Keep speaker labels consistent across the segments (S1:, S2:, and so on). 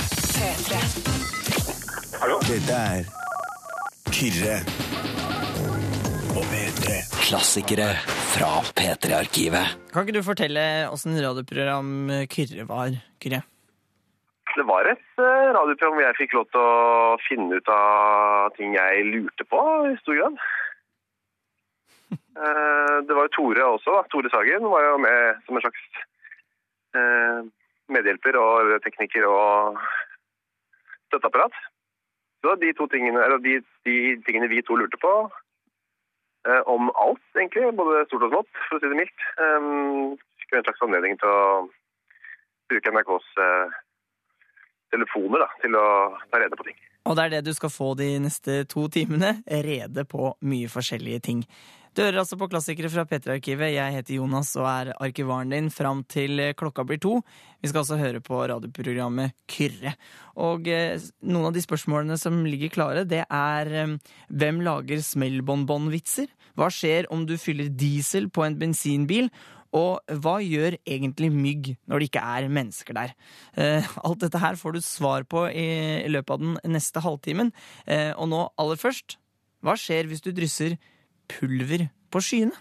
S1: P3.
S2: Dette er Kyrre på P3.
S3: Klassikere fra P3-arkivet.
S4: Kan ikke du fortelle åssen radioprogram Kyrre var, Kyrre?
S5: Det var et eh, radioprogram hvor jeg fikk lov til å finne ut av ting jeg lurte på, i stor grad. Eh, Det var jo Tore også. da. Tore Sagen var jo med som en slags eh, medhjelper og tekniker og støtteapparat. Så de, to tingene, eller de, de tingene vi to lurte på, eh, om alt, egentlig, både stort og smått, for å si det mildt, eh, fikk jo en slags anledning til å bruke NRKs eh, telefoner da, til å ta rede på ting.
S4: Og det er det du skal få de neste to timene. Rede på mye forskjellige ting. Du hører altså på Klassikere fra P3-arkivet. Jeg heter Jonas og er arkivaren din fram til klokka blir to. Vi skal også høre på radioprogrammet Kyrre. Og eh, noen av de spørsmålene som ligger klare, det er eh, hvem lager smellbonbonvitser? Hva skjer om du fyller diesel på en bensinbil? Og hva gjør egentlig mygg når det ikke er mennesker der? Eh, alt dette her får du svar på i, i løpet av den neste halvtimen. Eh, og nå aller først, hva skjer hvis du drysser pulver på skyene?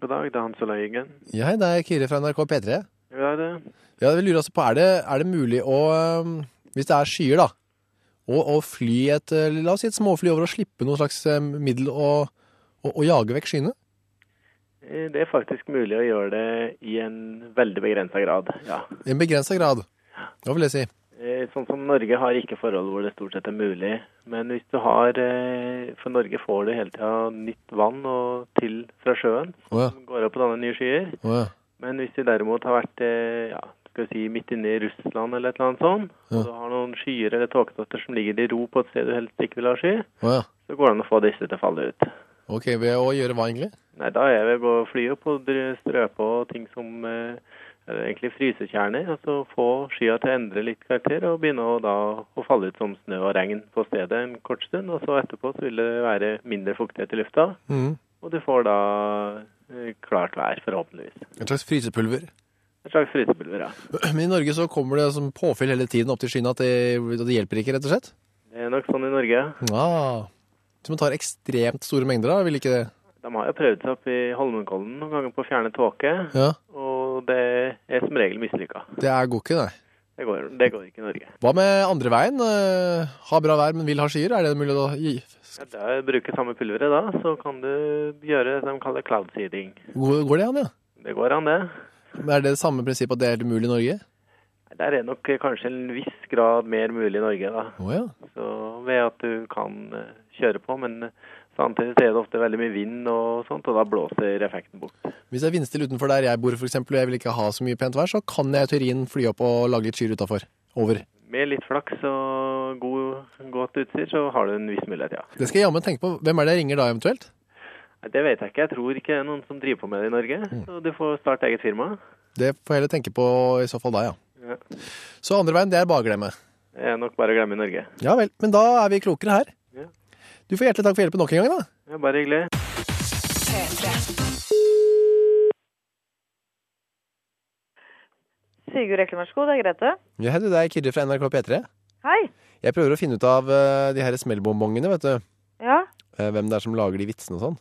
S6: God dag, det er Hans Ola Hyggen.
S7: Ja, hei, det er Kyrre fra NRK P3.
S6: God dag, det.
S7: Ja, vi lurer altså på, er det, er det mulig å, øhm, hvis det er skyer da, å, å fly et, øh, la oss si et småfly over og slippe noen slags øhm, middel og, og, og jage vekk skyene?
S6: Eh, Det er faktisk mulig å gjøre det i en veldig begrensa grad, ja.
S7: I en begrenset grad, hva vil jeg si?
S6: Eh, Sånn som Norge har ikke forhold hvor det stort sett er mulig. Men hvis du har eh, For Norge får du hele tida nytt vann og til fra sjøen
S7: Å ja,
S6: som går opp og danner nye skyer.
S7: å ja.
S6: Men hvis du derimot har vært eh, ja, skal vi si midt inne i Russland eller et eller annet sånt,
S7: Ja.
S6: og du har noen skyer eller tåkedotter som ligger i ro på et sted du helst ikke vil ha sky,
S7: Å ja.
S6: så går det an å få disse til å falle ut.
S7: Ok, ved å gjøre hva egentlig?
S6: Nei, da er jeg ved å fly opp og dr- strø på ting som eh, er egentlig frysekjerner, og så få skya til å endre litt karakter og begynne å, da, å falle ut som snø og regn på stedet en kort stund. Og så etterpå så vil det være mindre fuktighet i lufta,
S7: Mhm.
S6: og du får da eh, klart vær, forhåpentligvis.
S7: En slags frysepulver.
S6: Et slags frysepulver, ja.
S7: Men i Norge så kommer det som påfyll hele tiden opp til skyene at det, at det hjelper ikke, rett og slett?
S6: Det er nok sånn i Norge.
S7: Ja. Som tar ekstremt store mengder da, vil ikke det?
S6: De har jo prøvd seg opp i Holmenkollen noen ganger på å fjerne tåke,
S7: Ja,
S6: og det er som regel mislykka.
S7: det er god ikke, nei.
S6: Det går, det går ikke i Norge.
S7: Hva med andre veien? Eh, Ha bra vær, men vil ha skyer? Er det mulig å gi?
S6: Ja, da bruker samme pulveret da, så kan du gjøre det de kaller cloud seeding.
S7: Går går det an, ja?
S6: Det går an, det.
S7: Men Er det det samme prinsippet at det er umulig i Norge?
S6: Der er nok kanskje en viss grad mer mulig i Norge, da.
S7: Å ja.
S6: Så ved at du kan eh, kjøre på, men samtidig så er det ofte veldig mye vind og sånt, og da blåser effekten bort.
S7: Hvis det er vindstille utenfor der jeg bor, for eksempel, og jeg vil ikke ha så mye pent vær, så kan jeg i teorien fly opp og lage litt skyer utafor. Over.
S6: Med litt flaks og god, godt utstyr, så har du en viss mulighet, ja.
S7: Det skal jeg jammen tenke på. Hvem er det jeg ringer da, eventuelt?
S6: Nei, Det vet jeg ikke. Jeg tror ikke det er noen som driver på med det i Norge,
S7: Mm.
S6: så du får starte eget firma.
S7: Det får jeg heller tenke på i så fall deg,
S6: Ja.
S7: ja. Så andre veien, det er bare å glemme.
S6: Det er nok bare å glemme i Norge.
S7: Ja vel. Men da er vi klokere her.
S6: Ja.
S7: Du får hjertelig takk for hjelpen nok en gang, da.
S6: Ja, bare hyggelig.
S8: Sigurd Eklemarsko, det er Grete.
S7: Ja, hei du, det er Kyrre fra NRK P3.
S8: Hei.
S7: Jeg prøver å finne ut av eh, de her smellbonbongene, vet du.
S8: Ja.
S7: Eh, Hvem det er som lager de vitsene og sånn.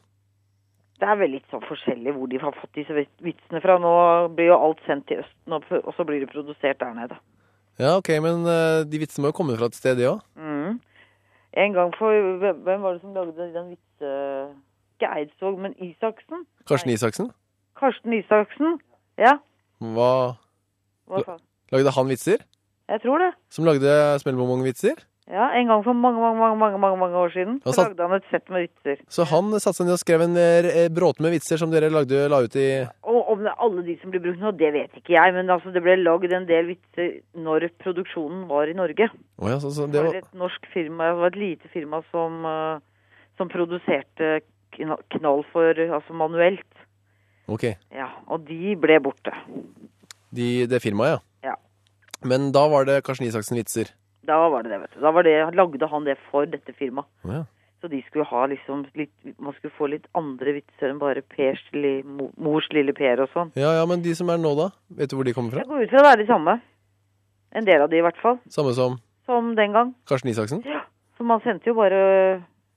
S8: Det er vel litt sånn forskjellig hvor de har fått disse vit- vitsene fra. Nå blir jo alt sendt til Østen, og og så blir det produsert der nede.
S7: Ja, ok, men eh, de vitsene må jo komme fra et sted, de òg.
S8: Mm. En gang for Hvem hvem var det som lagde den vitse... Ikke Eidsvåg, men Isaksen?
S7: Karsten Isaksen?
S8: Karsten Isaksen? Ja.
S7: Hva
S8: Hva faen?
S7: Lagde han vitser?
S8: Jeg tror det.
S7: Som lagde Smellbonbong-vitser?
S8: Ja, En gang for mange, mange, mange mange, mange, mange år siden
S7: Og
S8: så
S7: satt-
S8: lagde han et sett med vitser.
S7: Så han satte seg ned og skrev en eh, bråte med vitser som dere lagde, la ut i
S8: Og om det er alle de som blir brukt nå, det vet ikke jeg. Men altså, det ble lagd en del vitser når produksjonen var i Norge.
S7: Å ja, så, så Altså,
S8: Det
S7: det
S8: var
S7: var
S8: et norsk firma, det var et lite firma som, eh, som produserte kna- knall for, altså manuelt.
S7: Ok.
S8: Ja, og de ble borte.
S7: De, det firmaet, ja.
S8: Ja.
S7: Men da var det Karsten Isaksen-vitser.
S8: Da var det det, vet du. Da var det, lagde han det for dette firmaet.
S7: Å ja.
S8: Så de skulle ha liksom litt, man skulle få litt andre vitser enn bare Pers, li, mo- mors lille Per og sånn.
S7: Ja, ja, men de som er nå, da? Vet du hvor de kommer fra?
S8: Jeg går ut fra å være de samme. En del av de i hvert fall.
S7: Samme som
S8: Som den gang.
S7: Karsten Isaksen?
S8: For man sendte jo bare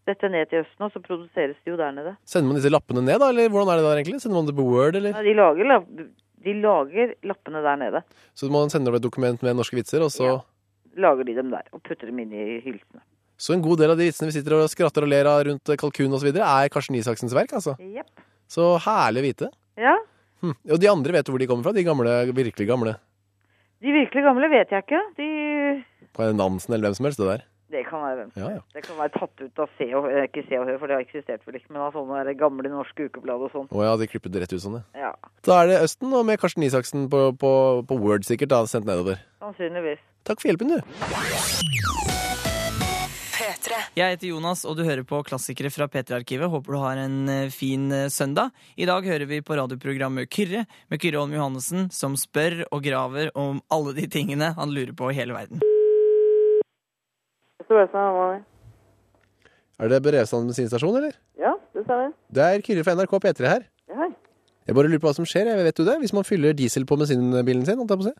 S8: dette ned til Østen, og så produseres det jo der nede.
S7: Sender man disse lappene ned, da? Eller hvordan er det der egentlig? Sender man det på Word, eller?
S8: Nei, de, lager, la- de lager lappene der nede.
S7: Så man sender over et dokument med norske vitser, og så
S8: Lager de dem der og putter dem inn i hylsene.
S7: Så en god del av de vitsene vi sitter og skratter og ler av rundt eh, kalkun osv., er Karsten Isaksens verk, altså.
S8: Jepp.
S7: Så herlig å vite.
S8: Ja.
S7: Hm. Og de andre vet du hvor de kommer fra, de gamle, virkelig gamle.
S8: De virkelig gamle vet jeg ikke. De
S7: Kan være Nansen eller hvem som helst, det der.
S8: Det kan være hvem som
S7: Ja, ja.
S8: helst. Det kan være tatt ut av Se og Hør, ikke Se og Hør, for det har eksistert vel ikke, men av sånne der gamle norske ukeblad og sånn.
S7: Å ja, de klippet det rett ut sånn, ja.
S8: Ja,
S7: Da er det Østen og med Karsten Isaksen på, på, på Word sikkert, da, sendt nedover.
S8: sannsynligvis.
S7: Takk for hjelpen, du.
S4: Jeg heter Jonas, og du hører på Klassikere fra P3-arkivet. Håper du har en eh, fin eh, søndag. I dag hører vi på radioprogrammet Kyrre med Kyrre Holm Johannessen, som spør og graver om alle de tingene han lurer på i hele verden.
S7: Er det Brevsand bensinstasjon, eller?
S1: Ja, det stemmer.
S7: Det er Kyrre fra NRK P3 her.
S1: Ja, hei.
S7: Jeg bare lurer på hva som skjer, jeg vet du det? Hvis man fyller diesel på bensinbilen sin, holdt jeg på å si.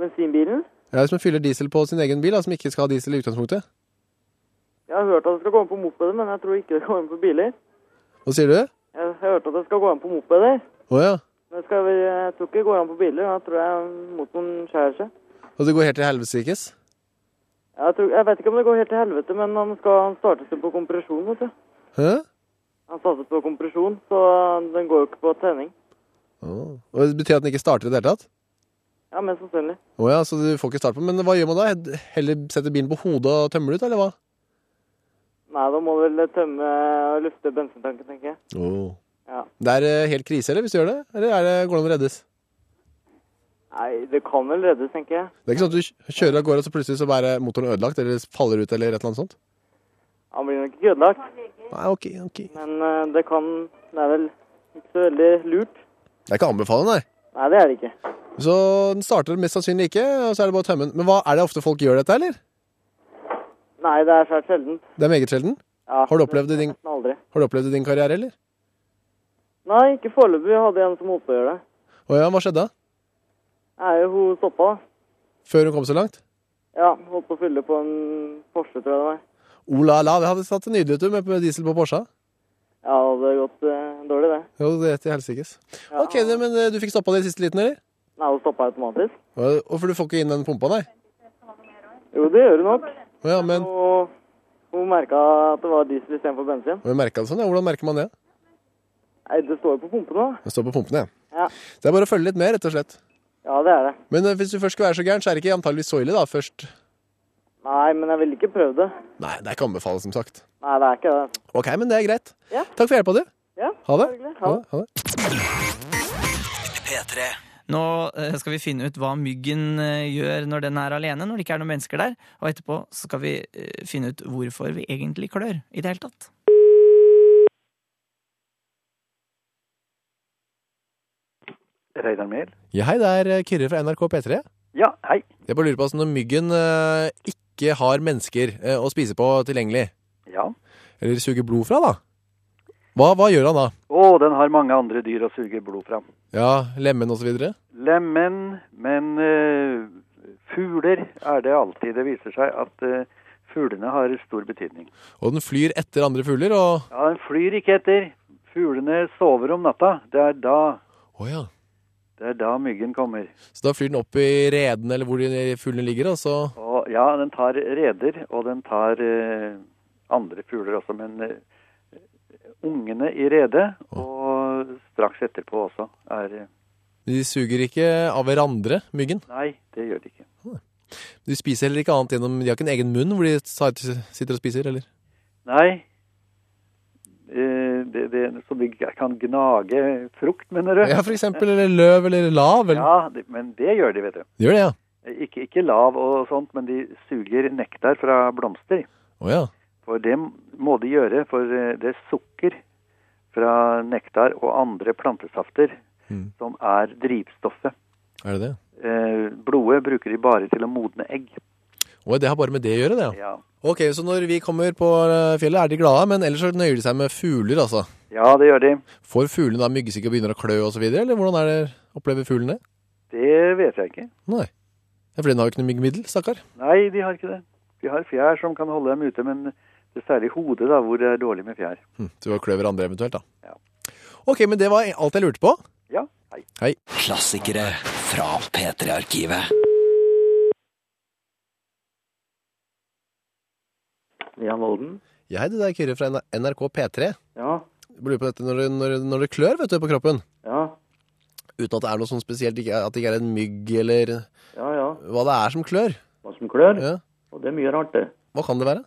S1: Bensinbilen?
S7: Ja, hvis man fyller diesel på sin egen bil, da, som ikke skal ha diesel i utgangspunktet.
S1: Jeg har hørt at det skal gå an på mopeder, men jeg tror ikke det skal gå an på biler.
S7: Hva sier du?
S1: Jeg har hørt at det skal gå an på mopeder,
S7: Å ja.
S1: men det skal, vel- jeg tror ikke det går an på biler. Da tror jeg motoren skjærer seg.
S7: Og det går helt til helvetesikes?
S1: Jeg, tror, jeg vet ikke om det går helt til helvete, men han, skal, han startet jo på kompresjon, vet du.
S7: Hæ?
S1: Han startet på kompresjon, så den går jo ikke på tenning.
S7: Å. Og det betyr at den ikke starter i det hele tatt?
S1: Ja, mest sannsynlig.
S7: Å ja, så du får ikke start på den. Men hva gjør man da? Heller setter bilen på hodet og tømmer den ut, eller hva?
S1: Nei, da må du vel tømme og lufte bensintanken, tenker jeg.
S7: Å.
S1: Ja.
S7: Det er eh, helt krise, eller, hvis du gjør det? Eller er det, går det an å reddes?
S1: Nei, det kan vel reddes, tenker jeg.
S7: Det er ikke sånn at du kj- kjører av gårde, og så plutselig så er motoren ødelagt, eller faller ut, eller et eller annet sånt?
S1: Han blir nok ikke ødelagt,
S7: Nei, ok, ok.
S1: men eh, det kan Det er vel ikke så veldig lurt.
S7: Det er ikke å anbefale, nei.
S1: Nei, det er det ikke.
S7: Så den starter mest sannsynlig ikke, og så er det bare å tømme den. Men hva, er det ofte folk gjør dette, eller?
S1: Nei, det er svært sjeldent.
S7: Det er meget sjelden.
S1: Ja,
S7: Har du opplevd det i din-
S1: Nesten aldri.
S7: Har du opplevd det i din karriere, eller?
S1: Nei, ikke foreløpig. Jeg hadde en som holdt på å gjøre det.
S7: Å ja, hva skjedde da?
S1: Nei, hun stoppa, da.
S7: Før hun kom så langt?
S1: Ja, holdt på å fylle på en Porsche, tror jeg det var.
S7: O la la, det hadde satt en nydelig ut du, med diesel på Porsche.
S1: Ja, det hadde gått eh, dårlig, det.
S7: Jo, det er til helsikes. Ok, det, men eh, du fikk stoppa det i siste liten, eller?
S1: Nei, hun stoppa automatisk.
S7: Og og for du får ikke inn den pumpa, nei?
S1: Jo, det gjør hun nok.
S7: Å ja, men
S1: Og hun merka at det var diesel istedenfor bensin.
S7: og jeg merket det sånn, ja. Hvordan merker man det?
S1: Nei, det står jo på pumpene, da.
S7: Det står på pumpene,
S1: Ja.
S7: Det er bare å følge litt med, rett og slett.
S1: Ja, det er det.
S7: Men eh, hvis du først skal være så gæren, så er det ikke antageligvis så ille, da, først.
S1: Nei, men jeg ville ikke prøvd det.
S7: Nei, det er ikke å anbefale, som sagt.
S1: Nei, det er ikke det.
S7: Ok, men det er greit.
S1: Ja.
S7: Takk for hjelpa, du.
S1: Ja,
S7: Ha det.
S1: hyggelig.
S7: Ha
S1: Ha
S7: det. Ha det.
S3: P3.
S4: Nå eh, skal vi finne ut hva myggen eh, gjør når den er alene, når det ikke er noen mennesker der. Og etterpå så skal vi eh, finne ut hvorfor vi egentlig klør i det hele tatt.
S9: Reidar Mehl?
S7: Ja, hei, det er eh, Kyrre fra NRK P3.
S9: Ja, hei.
S7: Jeg bare lurer på altså, når myggen eh, ikke har mennesker eh, å spise på tilgjengelig,
S9: Ja.
S7: eller suger blod fra, da. Hva, hva gjør han da?
S9: Å, den har mange andre dyr å suge blod fra.
S7: Ja, lemen og så videre?
S9: Lemen, men eh, fugler er det alltid. Det viser seg at eh, fuglene har stor betydning.
S7: Og den flyr etter andre fugler, og
S9: Ja, den flyr ikke etter. Fuglene sover om natta. Det er da,
S7: Å ja.
S9: det er da myggen kommer.
S7: Så da flyr den opp i reden eller hvor de fuglene ligger, og så
S9: Og ja, den tar reder, og den tar eh, andre fugler også, men eh, ungene i redet, og straks etterpå også, er eh,
S7: De suger ikke av hverandre, myggen.
S9: Nei, det gjør de ikke.
S7: De spiser heller ikke annet gjennom De har ikke en egen munn hvor de sa- sitter og spiser, eller?
S9: Nei. Eh, Det, det, så de kan gnage frukt, mener du?
S7: Ja, for eksempel. Eller løv eller lav. Eller.
S9: Ja, det- men det gjør de, vet du.
S7: De gjør det, ja.
S9: Ikke, ikke lav og sånt, men de suger nektar fra blomster.
S7: Å ja.
S9: For det må de gjøre, for eh, det er sukker fra nektar og andre plantesafter
S7: Mm.
S9: som er drivstoffet.
S7: Er det det?
S9: Eh, Blodet bruker de bare til å modne egg.
S7: Oi, det har bare med det å gjøre, det.
S9: Ja.
S7: Ok, så når vi kommer på eh, fjellet, er de glade, men ellers så nøyer de seg med fugler, altså.
S9: ja, det gjør de.
S7: Får fuglene da myggesyke og begynner å klø og så videre, eller hvordan er det opplever fuglene?
S9: Det vet jeg ikke.
S7: Nei. Ja, for den har jo ikke noe myggmiddel, stakkar.
S9: Nei, de har ikke det. De har fjær som kan holde dem ute, men det er særlig hodet da, hvor det er dårlig med fjær.
S7: Hm, så vi kløver andre eventuelt, da.
S9: Ja.
S7: Ok, men det var alt jeg lurte på.
S9: Ja, hei.
S7: Hei.
S3: Klassikere fra P3-arkivet.
S10: Jan Olden?
S7: Ja, hei, det der er Kyrre fra NRK P3.
S10: Ja,
S7: Jeg lurer på dette når, det- når, det- når det klør, vet du, på kroppen.
S10: ja,
S7: Uten at det er noe sånn spesielt, ikke- at det ikke er en mygg eller
S10: ja, ja.
S7: hva det er som klør.
S10: Hva som klør.
S7: Ja.
S10: Og det er mye rart, det.
S7: Hva kan det være?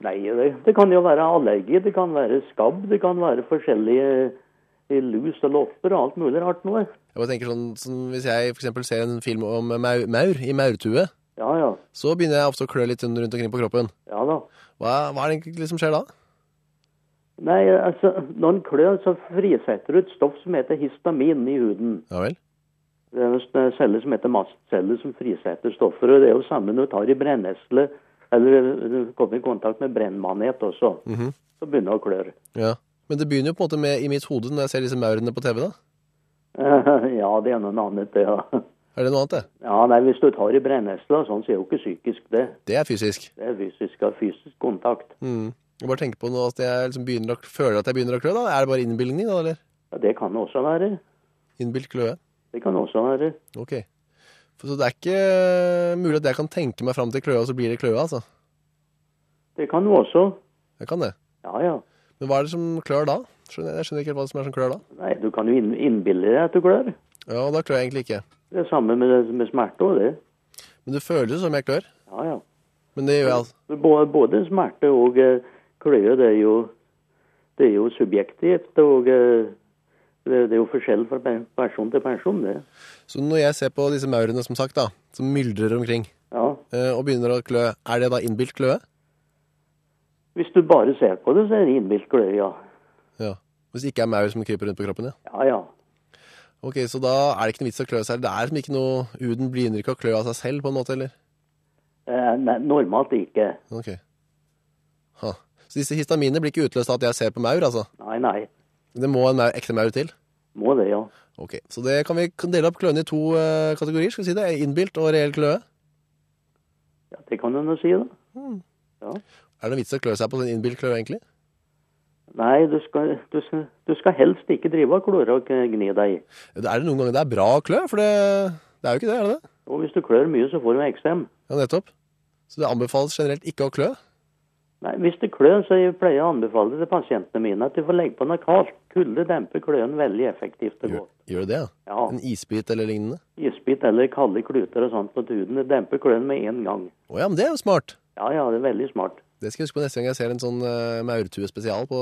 S10: Nei, det, det kan jo være allergi, det kan være skabb, det kan være forskjellige eh, lus og lopper og alt mulig rart noe.
S7: Jeg bare tenker sånn, sånn Hvis jeg for eksempel ser en film om maur, maur i maurtue,
S10: Ja, ja.
S7: så begynner jeg ofte å klø litt rundt omkring på kroppen.
S10: Ja da.
S7: Hva, hva er det egentlig som skjer da?
S10: Nei, altså, når en klør, så frisetter du et stoff som heter histamin i huden.
S7: Ja vel?
S10: Det er en eh, celle som heter mastceller, som frisetter stoffer. Og det er jo samme når du tar i brennesle, eller eh, kommer i kontakt med brennmanet også.
S7: Mhm.
S10: Så begynner det å klør.
S7: Ja. Men det begynner jo på en måte med i mitt hode når jeg ser disse maurene på TV, da.
S10: ja, det er noe annet, det. Ja.
S7: Er det noe annet, det?
S10: ja, nei, hvis du tar i brennesle og sånn, så er jo ikke psykisk det.
S7: Det er fysisk.
S10: Det er fysisk, ja, fysisk kontakt.
S7: Mm. Jeg bare tenker på nå at jeg liksom begynner å, føler at jeg begynner å klø. da. Er det bare innbilning, da? eller?
S10: Ja, det kan det også være.
S7: Innbilt kløe?
S10: Det kan det også være.
S7: Ok. For- Så det er ikke eh, mulig at jeg kan tenke meg fram til kløe, og så blir det kløe, altså?
S10: Det kan du også.
S7: Jeg kan det.
S10: Ja, ja.
S7: Men hva er det som klør da? Skjønner, jeg skjønner ikke helt hva som er som klør da.
S10: Nei, du kan jo inn- innbille deg at du klør.
S7: Ja, da klør jeg egentlig ikke.
S10: Det er samme med, med smerte og det.
S7: Men det føles jo som jeg klør.
S10: Ja, ja.
S7: Men det gjør jeg altså.
S10: Både, både smerte og eh, kløe, det er jo, det er jo subjektivt. Og eh, det, det er jo forskjell fra pe- person til person, det.
S7: Så når jeg ser på disse maurene, som sagt da, som myldrer omkring,
S10: Ja.
S7: eh, og begynner å klø, er det da innbilt kløe?
S10: Hvis du bare ser på det, så er det innbilt kløe, ja.
S7: Ja. Hvis det ikke er maur som kryper rundt på kroppen, ja.
S10: Ja, ja.
S7: Ok, så da er det ikke noe vits å klø seg. Det er liksom ikke noe, huden begynner ikke å klø av seg selv på en måte, eller?
S10: Eh, nei, normalt ikke.
S7: Ok. Ha. Så disse histaminene blir ikke utløst av at jeg ser på maur, altså?
S10: Nei, nei.
S7: Det må en maur, ekte maur til?
S10: Må det, ja.
S7: Ok, så det kan vi kan dele opp kløene i to eh, kategorier, skal vi si det? Innbilt og reell kløe.
S10: ja det kan du nå si, da.
S7: Er det noen vits å klø seg på sånn innbilt kløe, egentlig?
S10: Nei, du skal, du, skal, du skal helst ikke drive og klore og gni deg.
S7: Er det noen ganger det er bra å klø? For det, det er jo ikke det, er det det?
S10: Og hvis du klør mye, så får du eksem.
S7: Ja, nettopp. Så det anbefales generelt ikke å klø?
S10: Nei, Hvis det klør, så jeg pleier jeg å anbefale til pasientene mine at de får legge på noe kaldt. Kulde demper kløen veldig effektivt og
S7: Gjør,
S10: godt.
S7: gjør det det, ja?
S10: Ja,
S7: En isbit eller lignende?
S10: Isbit eller kalde kluter og sånt mot huden. Det demper kløen med en gang.
S7: Å ja, men det er jo smart.
S10: Ja, ja, det er veldig smart.
S7: Det skal jeg huske på neste gang jeg ser en sånn uh, maurtue spesial på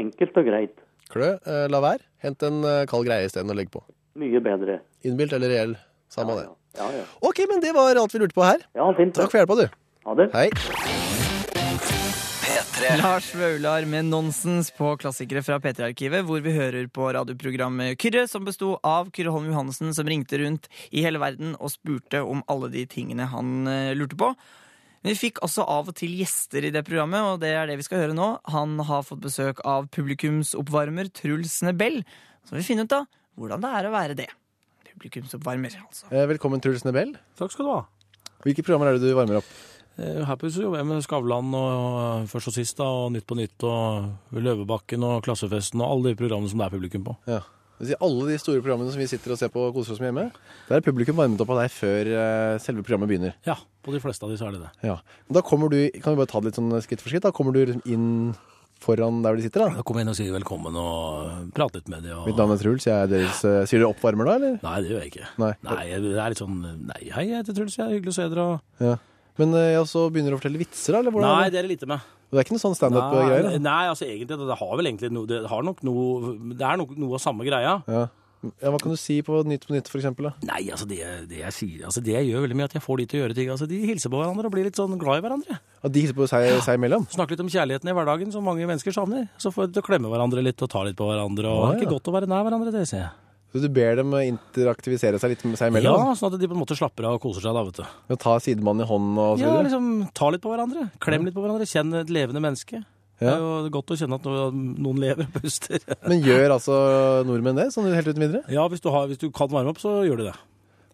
S10: Enkelt og greit.
S7: klø. Eh, la være. Hent en eh, kald greie isteden og legg på.
S10: Mye bedre.
S7: Innbilt eller reell. Samme
S10: Ja,
S7: det.
S10: ja, ja.
S7: Ok, men det var alt vi lurte på her.
S10: ja fint.
S7: Takk for hjelpa, du.
S10: Ha det.
S7: Hei.
S4: Lars Vaular med Nonsens på Klassikere fra P3-arkivet, hvor vi hører på radioprogrammet Kyrre, som besto av Kyrre Holm Johannessen, som ringte rundt i hele verden og spurte om alle de tingene han eh, lurte på. Men vi fikk også av og til gjester i det programmet, og det er det vi skal høre nå. Han har fått besøk av publikumsoppvarmer Truls Nebell, så vi finner ut da hvordan det er å være det. Publikumsoppvarmer, altså.
S7: Eh, velkommen, Truls Nebel.
S11: Takk skal du ha.
S7: Hvilke programmer er det du varmer opp?
S11: Eh, Her på huset jobber jeg med Skavlan og Først og sist da, og Nytt på nytt og Løvebakken og Klassefesten og alle de programmene som det er publikum på.
S7: Ja. Det vil si, alle de store programmene som vi sitter og ser på og koser oss med hjemme, der er publikum varmet opp av deg før eh, selve programmet begynner.
S11: Ja, på de fleste av disse er det det.
S7: Ja. Men da kommer du, kan vi bare ta det litt sånn skritt for skritt, da kommer du liksom inn foran der hvor de sitter da.
S11: Jeg kom inn og sier velkommen og pratet med de. Og...
S7: Mitt navn er Truls, jeg er deres, eh, sier dere oppvarmer da, eller?
S11: Nei, det gjør jeg ikke.
S7: Nei.
S11: Nei, jeg- det er litt sånn Nei, hei, jeg heter Truls, jeg er hyggelig å se dere. Og...
S7: Ja. Men eh, ja, så begynner du å fortelle vitser da, eller hvordan?
S11: Nei,
S7: er det...
S11: det er det lite med.
S7: det er ikke noe sånn stand-up-greier
S11: Nei,
S7: da?
S11: nei, altså egentlig, det, det har vel egentlig noe Det har nok noe Det er nok noe av samme greia.
S7: Ja. ja, hva kan du si på Nytt på Nytt for eksempel da?
S11: Nei, altså det, det jeg sier Altså det jeg gjør veldig mye, at jeg får de til å gjøre ting. Altså De hilser på hverandre og blir litt sånn glad i hverandre.
S7: At de hilser på seg, seg imellom?
S11: Snakke litt om kjærligheten i hverdagen, som mange mennesker savner. Så får de til å klemme hverandre litt og ta litt på hverandre. Og
S7: Å,
S11: det er
S7: ja.
S11: ikke godt å være nær hverandre, det ser jeg.
S7: Så du ber dem interaktivisere seg litt med seg imellom?
S11: Ja, sånn at de på en måte slapper av og koser seg. da, vet du.
S7: Ved å ta sidemannen i hånden og så
S11: Ja,
S7: videre?
S11: liksom Ta litt på hverandre. Klem litt på hverandre. Kjenn et levende menneske. Det er jo godt å kjenne at no- noen lever og puster.
S7: Men gjør altså nordmenn det, sånn helt uten videre?
S11: Ja, hvis du, har, hvis du kan varme opp, så gjør de det.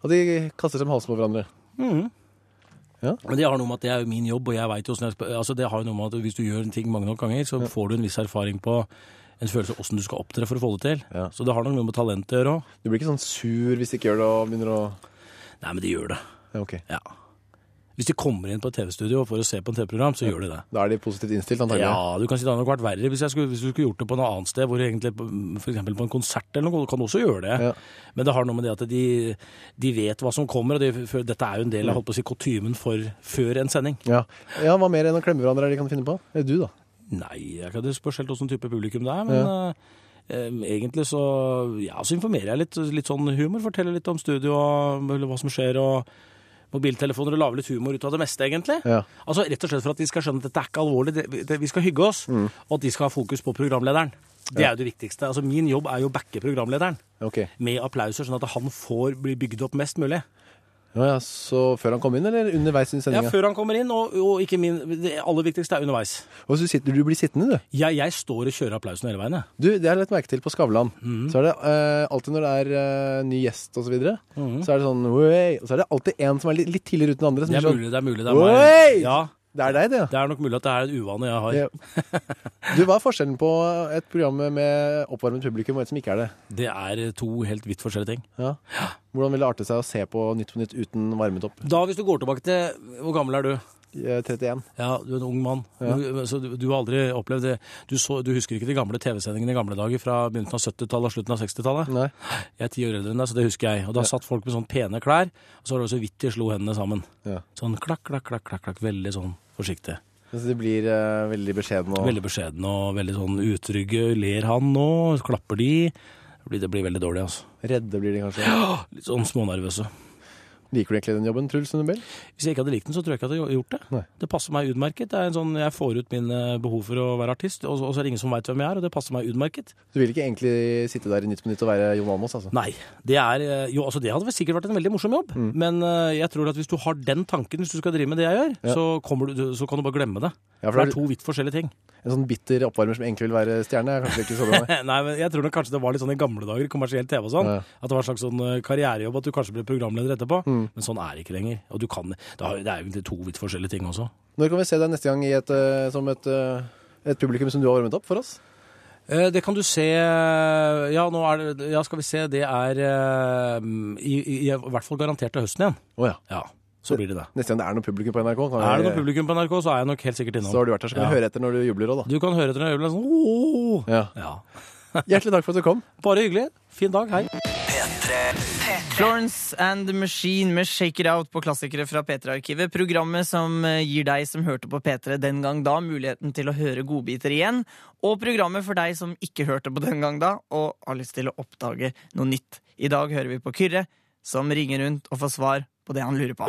S7: Og de kaster seg med halsen på hverandre?
S11: Mhm.
S7: Ja.
S11: Men det har noe med at det er jo min jobb, og jeg vet jo hvordan jeg skal- altså det har jo noe med at hvis du gjør en ting mange nok ganger, så får du en viss erfaring på en følelse av hvordan du skal opptre for å få det til. Så det har nok noe med talent å gjøre òg.
S7: Du blir ikke sånn sur hvis de ikke gjør det og begynner å
S11: Nei, men de gjør det.
S7: Ja, ok.
S11: Ja. Hvis de kommer inn på et TV-studio for å se på en TV-program, så gjør de det.
S7: Da er de positivt innstilt, antagelig?
S11: Ja, du kan si det hadde nok vært verre hvis, jeg skulle, hvis du skulle gjort det på noe annet sted, hvor egentlig, på- for eksempel på en konsert eller noe, du kan også gjøre det. Men det har noe med det at de, de vet hva som kommer, og de, for dette er jo en
S7: Mm.
S11: del av holdt på å si, kutymen for før en sending.
S7: Ja. ja, hva mer enn å klemme hverandre er det de kan finne på? Eller du, da?
S11: Nei, jeg kan- det spørs helt hvilken type publikum det er, men
S7: Ja.
S11: eh, em, egentlig så, ja, så informerer jeg litt, litt sånn humor, forteller litt om studio og eller hva som skjer, og mobiltelefoner og lager litt humor ut av det meste, egentlig.
S7: Ja.
S11: Altså Rett og slett for at de skal skjønne at dette er ikke alvorlig, det, det, vi skal hygge oss, og at de skal ha fokus på programlederen. Det
S7: Mm. Ja.
S11: er jo det viktigste. Altså Min jobb er jo å backe programlederen
S7: Ok.
S11: med applauser, sånn at han får bli bygd opp mest mulig.
S7: Ja, ja, så før han kom inn, eller underveis i
S11: Ja,
S7: sendinga?
S11: Før han kommer inn, og, og ikke min, det aller viktigste er underveis.
S7: Og så sitter du blir sittende, du.
S11: Jeg, jeg står og kjører applausen hele veien, jeg.
S7: Du, Det har jeg lagt merke til på Skavlan.
S11: Mhm.
S7: Så er det eh, alltid når det er eh, ny gjest og så videre,
S11: Mhm.
S7: så er det sånn «Oi!» Og så er det alltid en som er litt, litt tidligere uten den andre. Som
S11: Det er
S7: blir sånn,
S11: mulig, det er mulig. Det er,
S7: «Oi!»
S11: meg. Ja,
S7: det er deg, det. ja.
S11: det er nok mulig at det er en uvane jeg har.
S7: Ja. Du, Hva er forskjellen på et program med oppvarmet publikum og et som ikke er det?
S11: Det er eh, to helt vidt forskjellige ting.
S7: Ja. Hvordan vil det arte seg å se på Nytt på Nytt uten varmet opp?
S11: Da, hvis du går tilbake til Hvor gammel er du?
S7: Jeg er 31.
S11: Ja, du er en ung mann.
S7: Ja.
S11: Du, så du, du har aldri opplevd det. Du, så, du husker ikke de gamle TV-sendingene i gamle dager fra begynnelsen av 70-tallet og slutten av 60-tallet?
S7: Nei.
S11: Jeg er ti år eldre enn deg, så det husker jeg. Og da satt folk med sånn pene klær, og så var det så vidt de slo hendene sammen.
S7: Ja.
S11: Sånn klakk, klakk, klakk, klakk, klakk. Veldig sånn forsiktig.
S7: Så de blir eh, veldig beskjedne og
S11: Veldig beskjeden og veldig sånn utrygge. Ler han nå? Klapper de? Det blir, det blir veldig dårlig, altså.
S7: redde, blir de kanskje.
S11: Ja, Litt sånn smånervøse.
S7: Liker du egentlig den jobben, Truls Nobel?
S11: Hvis jeg ikke hadde likt den, så tror jeg ikke jeg hadde gjort det.
S7: Nei.
S11: Det passer meg utmerket. Det er en sånn, jeg får ut mine behov for å være artist, og så og så er det ingen som veit hvem jeg er, og det passer meg utmerket.
S7: Du vil ikke egentlig sitte der i Nytt på Nytt og være Jon Almaas, altså?
S11: Nei. Det er eh, Jo, altså det hadde vel sikkert vært en veldig morsom jobb,
S7: Mm.
S11: men eh, jeg tror at hvis du har den tanken, hvis du skal drive med det jeg gjør,
S7: Ja.
S11: så, kommer du, så kan du bare glemme det.
S7: Ja, for
S11: for det
S7: det-
S11: er to vidt forskjellige ting.
S7: En sånn bitter oppvarmer som egentlig vil være stjerne, er kanskje ikke så bra? nei.
S11: Nei, men Jeg tror nok kanskje det var litt sånn i gamle dager, kommersiell TV og sånn.
S7: Ja.
S11: At det var en slags sånn eh, karrierejobb, at du kanskje ble programleder etterpå. Men sånn er det ikke lenger. Og du kan, det har- det er jo egentlig to vidt forskjellige ting også.
S7: Når kan vi se deg neste gang i et, eh, som et, eh, et publikum som du har varmet opp for oss?
S11: Eh, Det kan du se Ja, nå er det, ja skal vi se. Det er eh, i, i, i hvert fall garantert til høsten igjen.
S7: Å ja.
S11: Ja, Så blir det det.
S7: Neste gang det er noe publikum på NRK, kan
S11: Er det
S7: vi-
S11: noe publikum på NRK, så er jeg nok helt sikkert innom.
S7: så har du vært her, så kan
S11: Ja.
S7: vi høre etter når du jubler òg, da.
S11: Du kan høre etter når jeg gjør sånn «Åh!»
S7: Ja.
S11: ja.
S7: Hjertelig takk for at du kom.
S11: Bare hyggelig. Fin dag. Hei.
S4: Florence and the Machine med Shake It Out på klassikere fra P3-arkivet. Programmet som eh, gir deg som hørte på P3 den gang da, muligheten til å høre godbiter igjen. Og programmet for deg som ikke hørte på den gang da, og har lyst til å oppdage noe nytt. I dag hører vi på Kyrre, som ringer rundt og får svar på det han lurer på.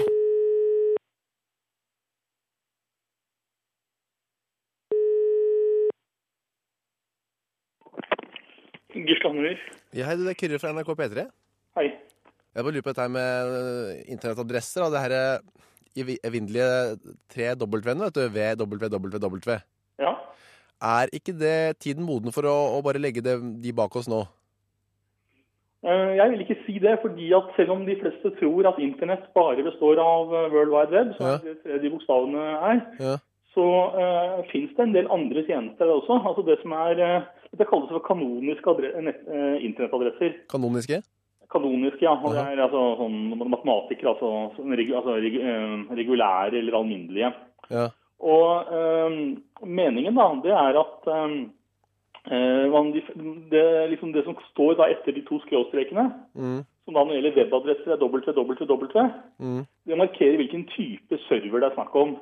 S12: Gisle Hammer.
S7: Ja, hei, du, det er Kyrre fra NRK P3.
S12: Hei.
S7: Jeg bare lurer på dette her med øh, internettadresser og det her øh, evi- evinnelige tre W-en, vet du. VWWW.
S12: Ja.
S7: Er ikke det tiden moden for å, å bare legge det, de bak oss nå?
S12: Eh, Jeg vil ikke si det, fordi at selv om de fleste tror at internett bare består av eh, World Wide Web, som
S7: Ja.
S12: er det tredje bokstavene er,
S7: Ja.
S12: så uh, finnes det en del andre tjenester også. Altså det som er eh, Det kalles for kanoniske adre nett, eh, internettadresser.
S7: Kanoniske?
S12: Kanoniske, ja. Og det er altså sånn matematikere, altså, sånn regu altså regu eh, regulære eller alminnelige.
S7: Ja.
S12: Og øhm, meningen da, det er at øhm, øh, man, det, liksom det som står da etter de to skråstrekene,
S7: Mm.
S12: som da når det gjelder webadresser er www,
S7: Mm.
S12: det markerer hvilken type server det er snakk om.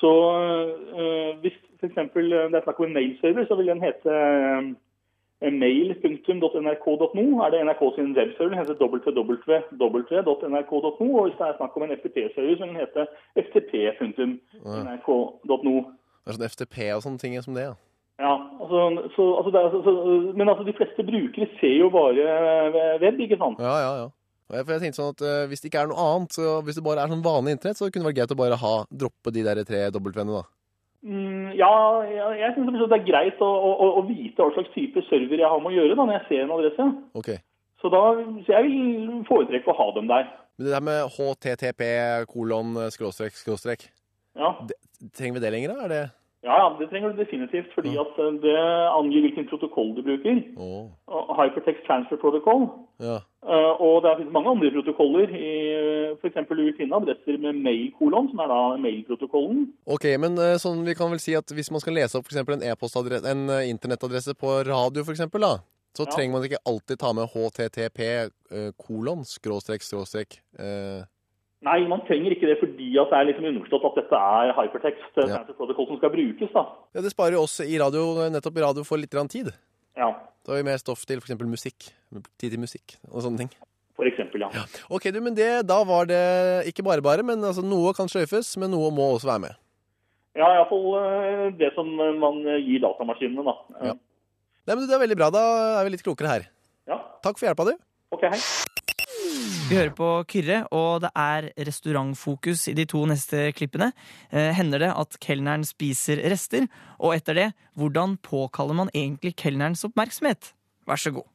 S12: Så øh, hvis for eksempel øh, det er snakk om en mailserver, så vil den hete øh, mail.nrk.no. Er det NRK sin webserver, den heter www.nrk.no. Og hvis det er snakk om en FTP-server, så vil den hete ftp.no.
S7: Ja.
S12: nrk.no.
S7: Det er sånn FTP og sånne ting som det, ja.
S12: Ja, altså, så, altså det er, så, så, Men altså, de fleste brukere ser jo bare eh, web, ikke sant?
S7: Ja, ja, ja. Og jeg- For jeg tenkte sånn at eh, Hvis det ikke er noe annet, så hvis det bare er sånn vanlig internett, så kunne det vært greit å bare ha, droppe de der tre W-ene, da.
S12: Mm, ja, jeg, jeg syns det er greit å, å, å vite hva slags type server jeg har med å gjøre da, når jeg ser en adresse.
S7: Ok.
S12: Så, da, så jeg vil foretrekke å ha dem der.
S7: Men det der med HTTP kolon eh, skråstrek skråstrek,
S12: Ja.
S7: det- trenger vi det lenger, da? Er det
S12: Ja, ja, det trenger du definitivt, fordi at eh, det angir hvilken protokoll du bruker.
S7: Åh.
S12: Og Hypertext Transfer Protocol.
S7: Ja.
S12: Eh, Og det finnes mange andre protokoller. F.eks. du vil finne adresser med mailkolon, som er da mailprotokollen.
S7: Ok, men eh, sånn vi kan vel si at hvis man skal lese opp for eksempel en e-postadresse, en eh, internettadresse på radio for eksempel da, så
S12: Ja.
S7: trenger man ikke alltid ta med http eh, kolon skråstrek skråstrek eh,
S12: Nei, man trenger ikke det fordi at det er liksom underforstått at dette er Hypertext Transfer Protocol som skal brukes. da.
S7: Ja, det sparer jo oss i radio, eh, nettopp i radio for litt grann tid.
S12: Ja.
S7: Da har vi mer stoff til for eksempel musikk, tid til musikk og sånne ting.
S12: For eksempel, ja.
S7: Ok, du, men det, da var det ikke bare bare, men altså noe kan sløyfes, men noe må også være med.
S12: Ja, iallfall det som eh, man gir datamaskinene, da. Eh,
S7: Nei, men du, det er veldig bra, da er vi litt klokere her.
S12: Ja.
S7: Takk for hjelpa, du.
S12: Ok, hei.
S4: Vi hører på Kyrre, og det er restaurantfokus i de to neste klippene. Eh, hender det at kelneren spiser rester? Og etter det, hvordan påkaller man egentlig kelnerens oppmerksomhet? Vær så god.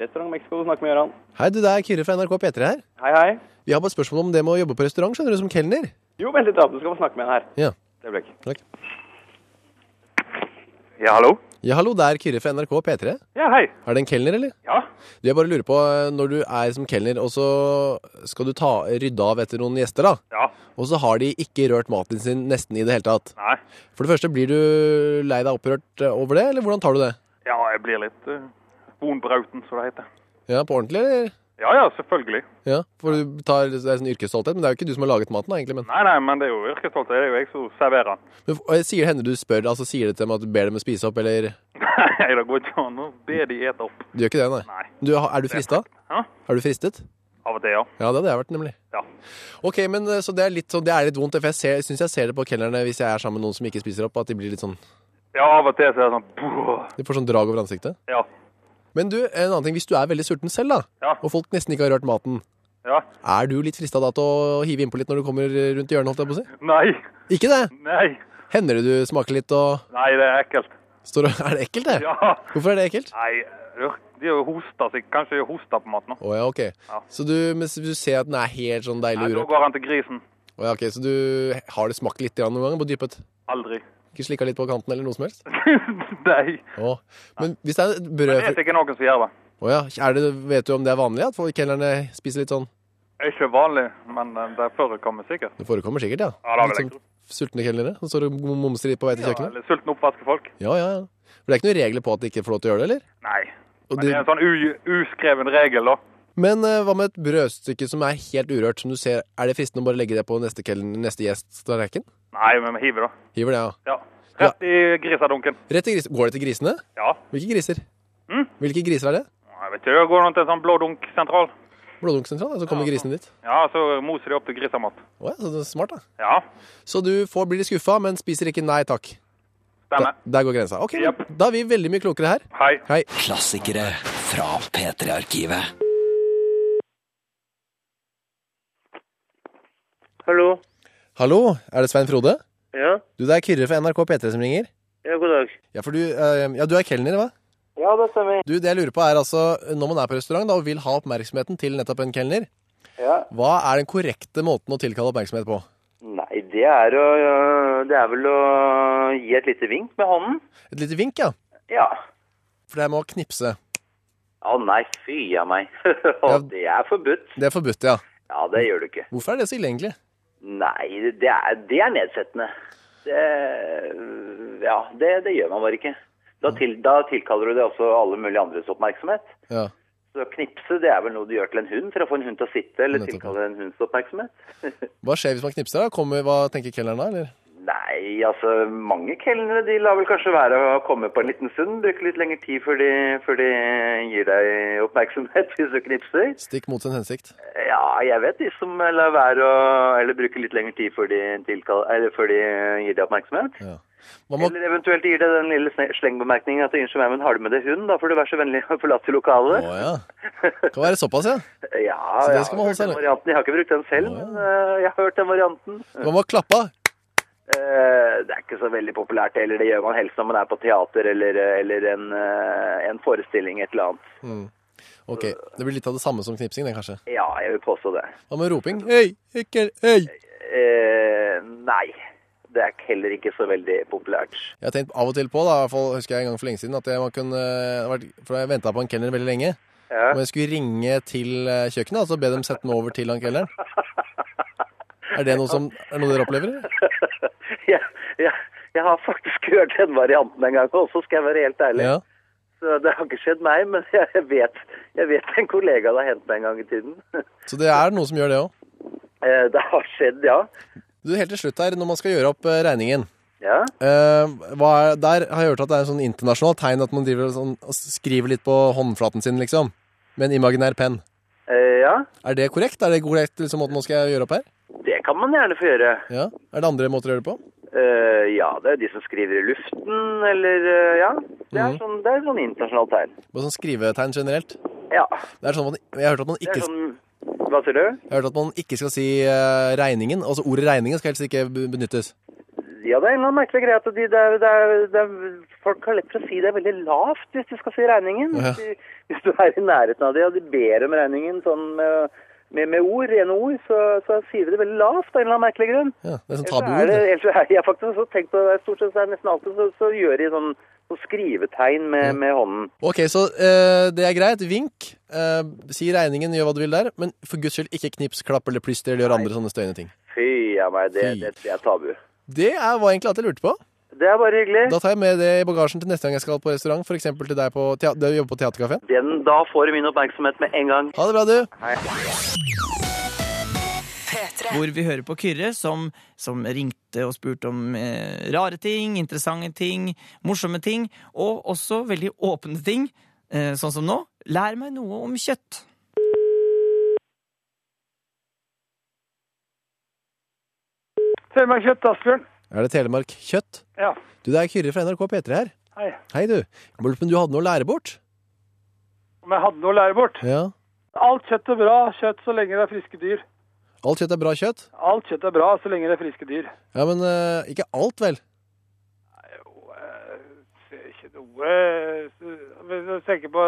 S13: Restaurant Mexico, snakk med Gøran.
S7: Hei, du, det er Kyrre fra NRK P3 her.
S13: Hei, hei.
S7: Vi har bare et spørsmål om det med å jobbe på restaurant, skjønner du, som kelner.
S13: Jo, vent litt, da. Du skal få snakke med en her.
S7: Ja.
S13: Det ble ikke.
S7: Takk.
S13: Ja, hallo?
S7: Ja, hallo, det er Kyrre fra NRK P3.
S13: Ja, hei.
S7: Er det en kelner, eller?
S13: Ja.
S7: Du, jeg bare lurer på, eh, når du er som kelner, og så skal du ta, rydde av etter noen gjester, da.
S13: Ja.
S7: Og så har de ikke rørt maten sin nesten i det hele tatt.
S13: Nei.
S7: For det første, blir du lei deg opprørt eh, over det, eller hvordan tar du det?
S13: Ja, jeg blir litt uh, bonbrauten, som det heter.
S7: Ja, på ordentlig, eller?
S13: Ja, ja, selvfølgelig.
S7: Ja, for du tar, det er sånn yrkesstolthet, men det er jo ikke du som har laget maten, da, egentlig. Men,
S13: Nei, nei, men det er jo yrkesstolthet. Det er jo jeg som serverer den.
S7: men f- og jeg sier, hender du spør, altså sier det til dem at du ber dem å spise opp, eller?
S13: Nei, det går ikke an å be de ete opp.
S7: Du gjør ikke det, nei?
S13: Nei.
S7: Du, har- er du frista?
S13: Hæ?
S7: Er du fristet?
S13: Av og til, ja.
S7: Ja, det hadde jeg vært, nemlig.
S13: Ja.
S7: Ok, men eh, Så det er litt, sånn- det er litt vondt, for jeg ser- syns jeg ser det på kelnerne hvis jeg er sammen med noen som ikke spiser opp, at de blir litt sånn
S13: Ja, av og til så er det sånn «Puh».
S7: De får sånn drag over ansiktet.
S13: Ja.
S7: Men du, en annen ting. Hvis du er veldig sulten selv, da, og folk nesten ikke har rørt maten,
S13: Ja.
S7: er du litt frista da til å hive innpå litt når du kommer eh, rundt hjørnet, holdt jeg på å si?
S13: Nei.
S7: Ikke det?
S13: Nei.
S7: Hender det du smaker litt og
S13: Nei, det er ekkelt.
S7: står og Er det ekkelt, det?
S13: Ja.
S7: Hvorfor er det ekkelt?
S13: Nei, ør- de har jo hosta seg. Kanskje de har hosta på maten. nå.
S7: Å ja, OK. Så du, mens du ser at den er helt sånn deilig
S13: Nei, da
S7: urørt
S13: går han til grisen.
S7: Å ja, ok, Så du har det smakt litt grann noen ganger på dypet?
S13: Aldri.
S7: Ikke slikka litt på kanten eller noe som helst?
S13: Nei.
S7: Å. Men hvis det er
S13: Det
S7: brød
S13: vet ikke noen som gjør det.
S7: Å ja. Er det, vet du om det er vanlig at folk- kelnerne spiser litt sånn?
S13: Det er ikke vanlig, men eh, det forekommer sikkert.
S7: Det forekommer sikkert, ja.
S13: Ja, det er
S7: litt
S13: vel
S7: sånn sultne kelnere som står og mumser litt på vei til
S13: Ja,
S7: kjøkkenet?
S13: eller sulten oppvaskefolk.
S7: Ja, ja, ja. For det er ikke noen regler på at de ikke får lov til å gjøre det, eller?
S13: Nei.
S7: Og
S13: Men
S7: det-
S13: det er en sånn u uskreven regel, da.
S7: Men eh, hva med et brødstykke som er helt urørt, som du ser Er det fristende å bare legge det på neste, kelner, neste gjests tallerken?
S13: Nei, men vi hiver, da.
S7: Hiver det, ja.
S13: Ja. Rett i grisadunken.
S7: Rett i gris... Går det til grisene?
S13: Ja.
S7: Hvilke griser?
S13: Mm.
S7: Hvilke griser er det?
S13: Jeg vet ikke, det går noe til en sånn blådunk sentral.
S7: Blådunksentral, ja, så kommer grisene dit.
S13: Ja, så moser de opp til grisamat.
S7: Å ja, så det er smart, da.
S13: Ja.
S7: Så du får bli litt skuffa, men spiser ikke nei takk.
S13: Stemmer.
S7: Der, der går grensa. Ok, da er vi veldig mye klokere her.
S13: Hei.
S7: Hei.
S3: Klassikere fra P3-arkivet.
S14: Hallo.
S7: Hallo, er det Svein Frode?
S14: Ja,
S7: Du, det er Kyrre fra NRK P3 som ringer.
S14: ja god dag.
S7: Ja, for du, eh, ja, du er kelner, hva?
S14: Ja, det stemmer.
S7: Du, det jeg lurer på er altså, når man er på restaurant da, og vil ha oppmerksomheten til nettopp en kelner,
S14: Ja.
S7: hva er den korrekte måten å tilkalle oppmerksomhet på?
S14: Nei, det er, å, øh, det er vel å gi et lite vink med hånden.
S7: Et lite vink, ja.
S14: Ja.
S7: For det er med å knipse.
S14: Å nei, fy av meg. Å, det er forbudt.
S7: Det er forbudt, ja.
S14: Ja, det gjør du ikke.
S7: Hvorfor er det så ille, egentlig?
S14: Nei, det er, det er nedsettende. Det, ja, det, det gjør man bare ikke. Da, til, da tilkaller du det også alle mulige andres oppmerksomhet.
S7: Ja.
S14: Så knipse, det er vel noe du gjør til en hund for å få en hund til å sitte, eller tilkalle en hunds oppmerksomhet.
S7: Hva skjer hvis man knipser da? Kommer, hva tenker kelneren da, eller?
S14: Nei, Nei, altså mange kelnere de lar vel kanskje være å komme på en liten stund. Bruker litt lengre tid før de, før de gir deg oppmerksomhet hvis du knipser.
S7: Stikk mot sin hensikt.
S14: Ja, jeg vet de som lar være å Eller bruker litt lengre tid før de, tilkall, eller før de gir deg oppmerksomhet. Eller eventuelt gir deg den lille sne- slengbemerkningen at 'unnskyld meg, men har du med deg hund', da får du være så vennlig å forlate lokalet.
S7: Å ja. Kan være såpass, ja.
S14: Ja,
S7: Så det
S14: jeg
S7: skal
S14: har
S7: man holde
S14: hørt
S7: seg
S14: den
S7: unna.
S14: varianten. Jeg har ikke brukt den selv, men eh, jeg har hørt den varianten.
S7: Man må klappe.
S14: Eh, Det er ikke så veldig populært heller. Det gjør man helst når man er på teater eller, eller en, eh, en forestilling, et eller annet.
S7: Mm. Ok, det blir litt av det samme som knipsing, det kanskje.
S14: Ja, jeg vil påstå det.
S7: Hva med roping? Hei, ikke, hei!
S14: Eh, nei. Det er heller ikke så veldig populært.
S7: Jeg har tenkt av og til på, da, i hvert fall husker jeg en gang for lenge siden, at jeg, man kunne, eh, vært- for jeg ventet på han kelner veldig lenge,
S14: Ja.
S7: og jeg skulle ringe til eh, kjøkkenet, altså be dem sette meg over til han kelneren. Er det noe, som, er det noe dere opplever? eller?
S14: jeg, jeg, jeg har faktisk hørt den varianten en gang også, skal jeg være helt ærlig.
S7: Ja.
S14: Så det har ikke skjedd meg, men jeg vet, jeg vet en kollega det har hendt meg en gang i tiden.
S7: Så det er noe som gjør det også.
S14: Eh, Det har skjedd, ja.
S7: Du, helt til slutt her, når man skal gjøre opp eh, regningen,
S14: Ja.
S7: eh, hva er, der har jeg hørt at det er en sånn internasjonal tegn at man driver og sånn, og skriver litt på håndflaten sin, liksom, med en imaginær penn.
S14: Eh, ja.
S7: Er det korrekt? Er det korrekt liksom, måten man skal gjøre opp her?
S14: Det kan man gjerne få gjøre.
S7: Ja. Er det andre måter å gjøre det på?
S14: Eh, ja, det er de som skriver i luften, eller eh, ja. Det er
S7: Mhm.
S14: sånn, det er sånn internasjonalt tegn.
S7: På sånn skrivetegn generelt?
S14: Ja.
S7: Det er sånn at man, jeg har hørt at man
S14: Det er
S7: ikke...
S14: sånn, hva sier du?
S7: Jeg har hørt at man ikke skal si eh, regningen, altså ordet regningen skal helst ikke be- benyttes.
S14: Ja, det er en eller annen merkelig greie at de, det er, det er, det er, folk har lett for å si det er veldig lavt hvis de skal si regningen.
S7: Ja.
S14: Hvis, du, hvis du er i nærheten av det, og de ber om regningen sånn med, med, med ord, rene ord, så, så sier de det veldig lavt av en eller annen merkelig grunn.
S7: Ja, det er sånn
S14: Ellers så er
S7: tabuord.
S14: det,
S7: det.
S14: ellers så er, jeg har faktisk også tenkt på det, stort sett så er det nesten alltid så, så gjør de sånn, sånn skrivetegn med, med hånden.
S7: Ok, så eh, det er greit. Vink. eh, si regningen, gjør hva du vil der. Men for guds skyld, ikke knips, klapp eller plyster eller gjør andre sånne støyende ting.
S14: Fy av meg, det,
S7: Fy.
S14: det, det er tabu.
S7: Det er, var egentlig alt jeg lurte på.
S14: Det er bare hyggelig.
S7: Da tar jeg med det i bagasjen til neste gang jeg skal på restaurant, f.eks. til deg på, tea- der du jobber på Theatercafé.
S14: Den, da får du min oppmerksomhet med en gang.
S7: Ha det bra, du.
S14: Hei.
S4: Hvor vi hører på Kyrre, som, som ringte og spurte om eh, rare ting, interessante ting, morsomme ting, og også veldig åpne ting, eh, sånn som nå. Lær meg noe om kjøtt.
S15: Telemark kjøtt, Asbjørn.
S7: Er det Telemark kjøtt?
S15: Ja.
S7: Du, det er Kyrre fra NRK P3 her.
S15: Hei.
S7: Hei, du. Jeg lurte på om du hadde noe å lære bort?
S15: Om jeg hadde noe å lære bort?
S7: Ja.
S15: Alt kjøtt er bra kjøtt så lenge det er friske dyr.
S7: Alt kjøtt er bra kjøtt?
S15: Alt kjøtt er bra så lenge det er friske dyr.
S7: Ja, men eh, ikke alt,
S15: Det
S7: vel?
S15: er Ikke noe Hvis du tenker på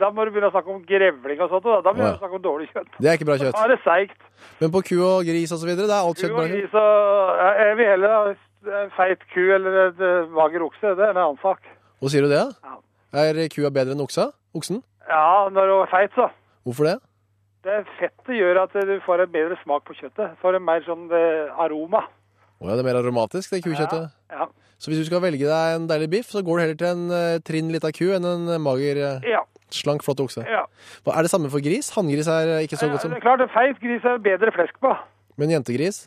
S15: Da må du begynne å snakke om grevling og sånt. Da, da begynner du å snakke om dårlig kjøtt.
S7: Det er ikke bra kjøtt.
S15: Da er det seigt.
S7: Men på ku og gris og så videre, det er alt
S15: Ku
S7: kjøtt
S15: og
S7: bra kjøtt?
S15: gris og Jeg jeg vil heller ha en feit ku eller en eh, mager okse. Det er en annen sak.
S7: Hva sier du det, da? Er kua bedre enn oksa? Oksen?
S15: Ja, når du er feit, så.
S7: Hvorfor det?
S15: Det fettet gjør at du får en bedre smak på kjøttet. Får en mer sånn eh, aroma.
S7: Å ja, det er mer aromatisk, det kukjøttet.
S15: Ja.
S7: Så hvis du skal velge deg en deilig biff, så går du heller til en eh, trinn lita ku enn en eh, mager, eh,
S15: Ja.
S7: slank, flott okse.
S15: Ja.
S7: Hva, er det samme for gris? Hanngris er eh, ikke så godt
S15: Ja,
S7: som
S15: det er klart, en feit gris er bedre flesk på.
S7: Men jentegris?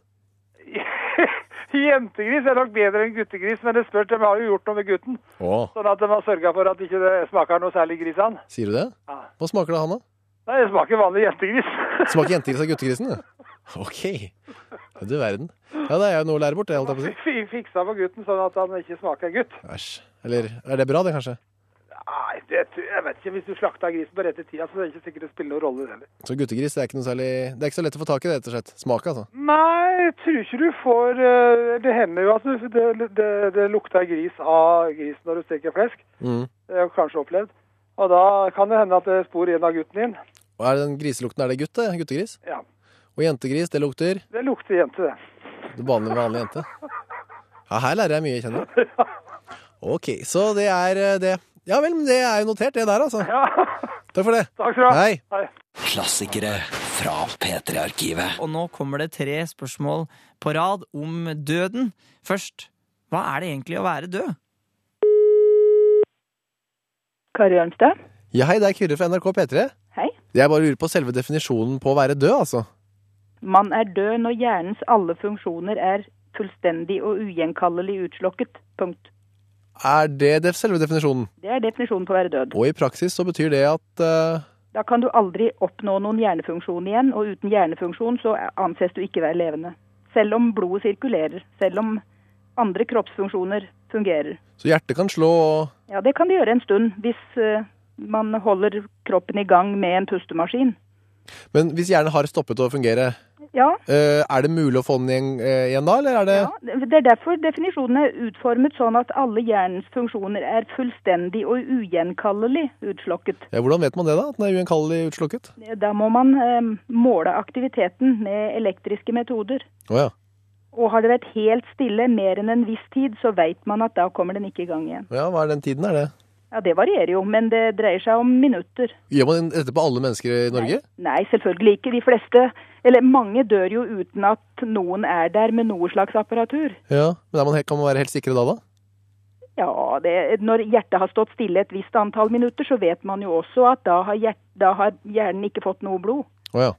S15: Jentegris er nok bedre enn guttegris, men det spørs, de har jo gjort noe med gutten.
S7: Å,
S15: Sånn at de har sørga for at ikke det smaker noe særlig gris av den.
S7: sier du det?
S15: Ja.
S7: Hva smaker det, Hanna?
S15: Nei, det smaker vanlig jentegris.
S7: Smaker jentegris av guttegrisen, det? Ok. Ja, Du verden. Ja, det er jo noe å lære bort, det, holdt jeg på å si.
S15: Fi- Fiksa på gutten sånn at han ikke smaker gutt.
S7: Æsj. Eller er det bra, det, kanskje?
S15: Nei, det, tror- jeg vet ikke. Hvis du slakta grisen på rette tida, så er det ikke sikkert det spiller noen rolle det heller.
S7: Så guttegris det er ikke noe særlig Det er ikke så lett å få tak i det, rett og slett. Smak, altså.
S15: Nei, jeg tror ikke du får eh, Det hender jo at du, det, det, det lukter gris av gris når du steker flesk.
S7: Mm.
S15: Det har jeg kanskje opplevd. Og da kan det hende at det spor igjen av gutten din.
S7: Og er den griselukten, er det gutt, det? Guttegris?
S15: Ja.
S7: Og jentegris, det lukter
S15: Det lukter jente, det.
S7: det vanlige vanlige jente. Ja, her lærer jeg mye, kjenner du. Ok, så det er eh, det. Ja vel, men det er jo notert, det der, altså. Takk for det.
S15: Takk
S7: skal du ha. Hei.
S3: Klassikere fra P3-arkivet.
S4: Og nå kommer det tre spørsmål på rad om døden. Først, hva er det egentlig å være død?
S16: Kari Arnstad.
S7: Ja, hei, det er Kyrre fra NRK P3.
S16: Hei.
S7: Jeg bare lurer på selve definisjonen på å være død, altså.
S16: Man er død når hjernens alle funksjoner er fullstendig og ugjenkallelig utslokket. Punkt.
S7: Er det def- selve definisjonen?
S16: Det er definisjonen på å være død.
S7: Og i praksis så betyr det at eh,
S16: Da kan du aldri oppnå noen hjernefunksjon igjen, og uten hjernefunksjon så anses du ikke være levende. Selv om blodet sirkulerer, selv om andre kroppsfunksjoner fungerer.
S7: Så hjertet kan slå og
S16: Ja, det kan det gjøre en stund, hvis eh, man holder kroppen i gang med en pustemaskin.
S7: Men hvis hjernen har stoppet å fungere,
S16: Ja,
S7: eh, er det mulig å få den igjen, eh, igjen da, eller er det
S16: Det er derfor definisjonen er utformet sånn at alle hjernens funksjoner er fullstendig og ugjenkallelig utslokket.
S7: ja, Hvordan vet man det, da? At den er ugjenkallelig utslukket?
S16: Da må man eh, måle aktiviteten med elektriske metoder.
S7: Å ja.
S16: Og har det vært helt stille mer enn en viss tid, så veit man at da kommer den ikke i gang igjen.
S7: ja. Hva er den tiden, er det?
S16: Ja, Det varierer jo, men det dreier seg om minutter.
S7: Gjør man dette på alle mennesker i Norge?
S16: Nei, selvfølgelig ikke. De fleste, eller mange, dør jo uten at noen er der med noe slags apparatur.
S7: Ja. Men er man helt, kan man være helt sikre da, da?
S16: Ja, det, når hjertet har stått stille et visst antall minutter, så vet man jo også at da har, hjert, da har hjernen ikke fått noe blod.
S7: Å ja.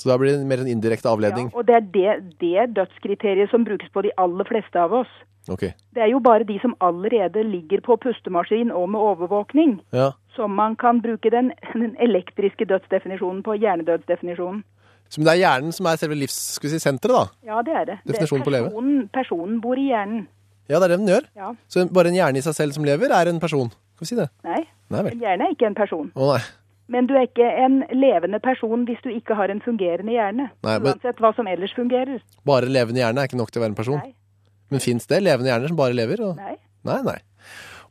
S7: Så da blir det mer en indirekte avledning?
S16: Og det er det, det dødskriteriet som brukes på de aller fleste av oss.
S7: Ok.
S16: Det er jo bare de som allerede ligger på pustemaskin og med overvåkning,
S7: Ja.
S16: som man kan bruke den, den elektriske dødsdefinisjonen på hjernedødsdefinisjonen.
S7: Så men det er hjernen som er selve livs, skal vi si, senteret, da?
S16: Ja, det er det. Det er
S7: Definisjonen på leve.
S16: Personen, personen bor i hjernen.
S7: Ja, det er det den gjør.
S16: Ja.
S7: Så bare en hjerne i seg selv som lever, er en person. Skal vi si det?
S16: Nei,
S7: Nei vel.
S16: en hjerne er ikke en person.
S7: Å nei.
S16: Men du er ikke en levende person hvis du ikke har en fungerende hjerne.
S7: Nei, men-
S16: Uansett hva som ellers fungerer.
S7: Bare en levende hjerne er ikke nok til å være en person. Men fins det levende hjerner som bare lever? Og...
S16: Nei.
S7: Nei, nei.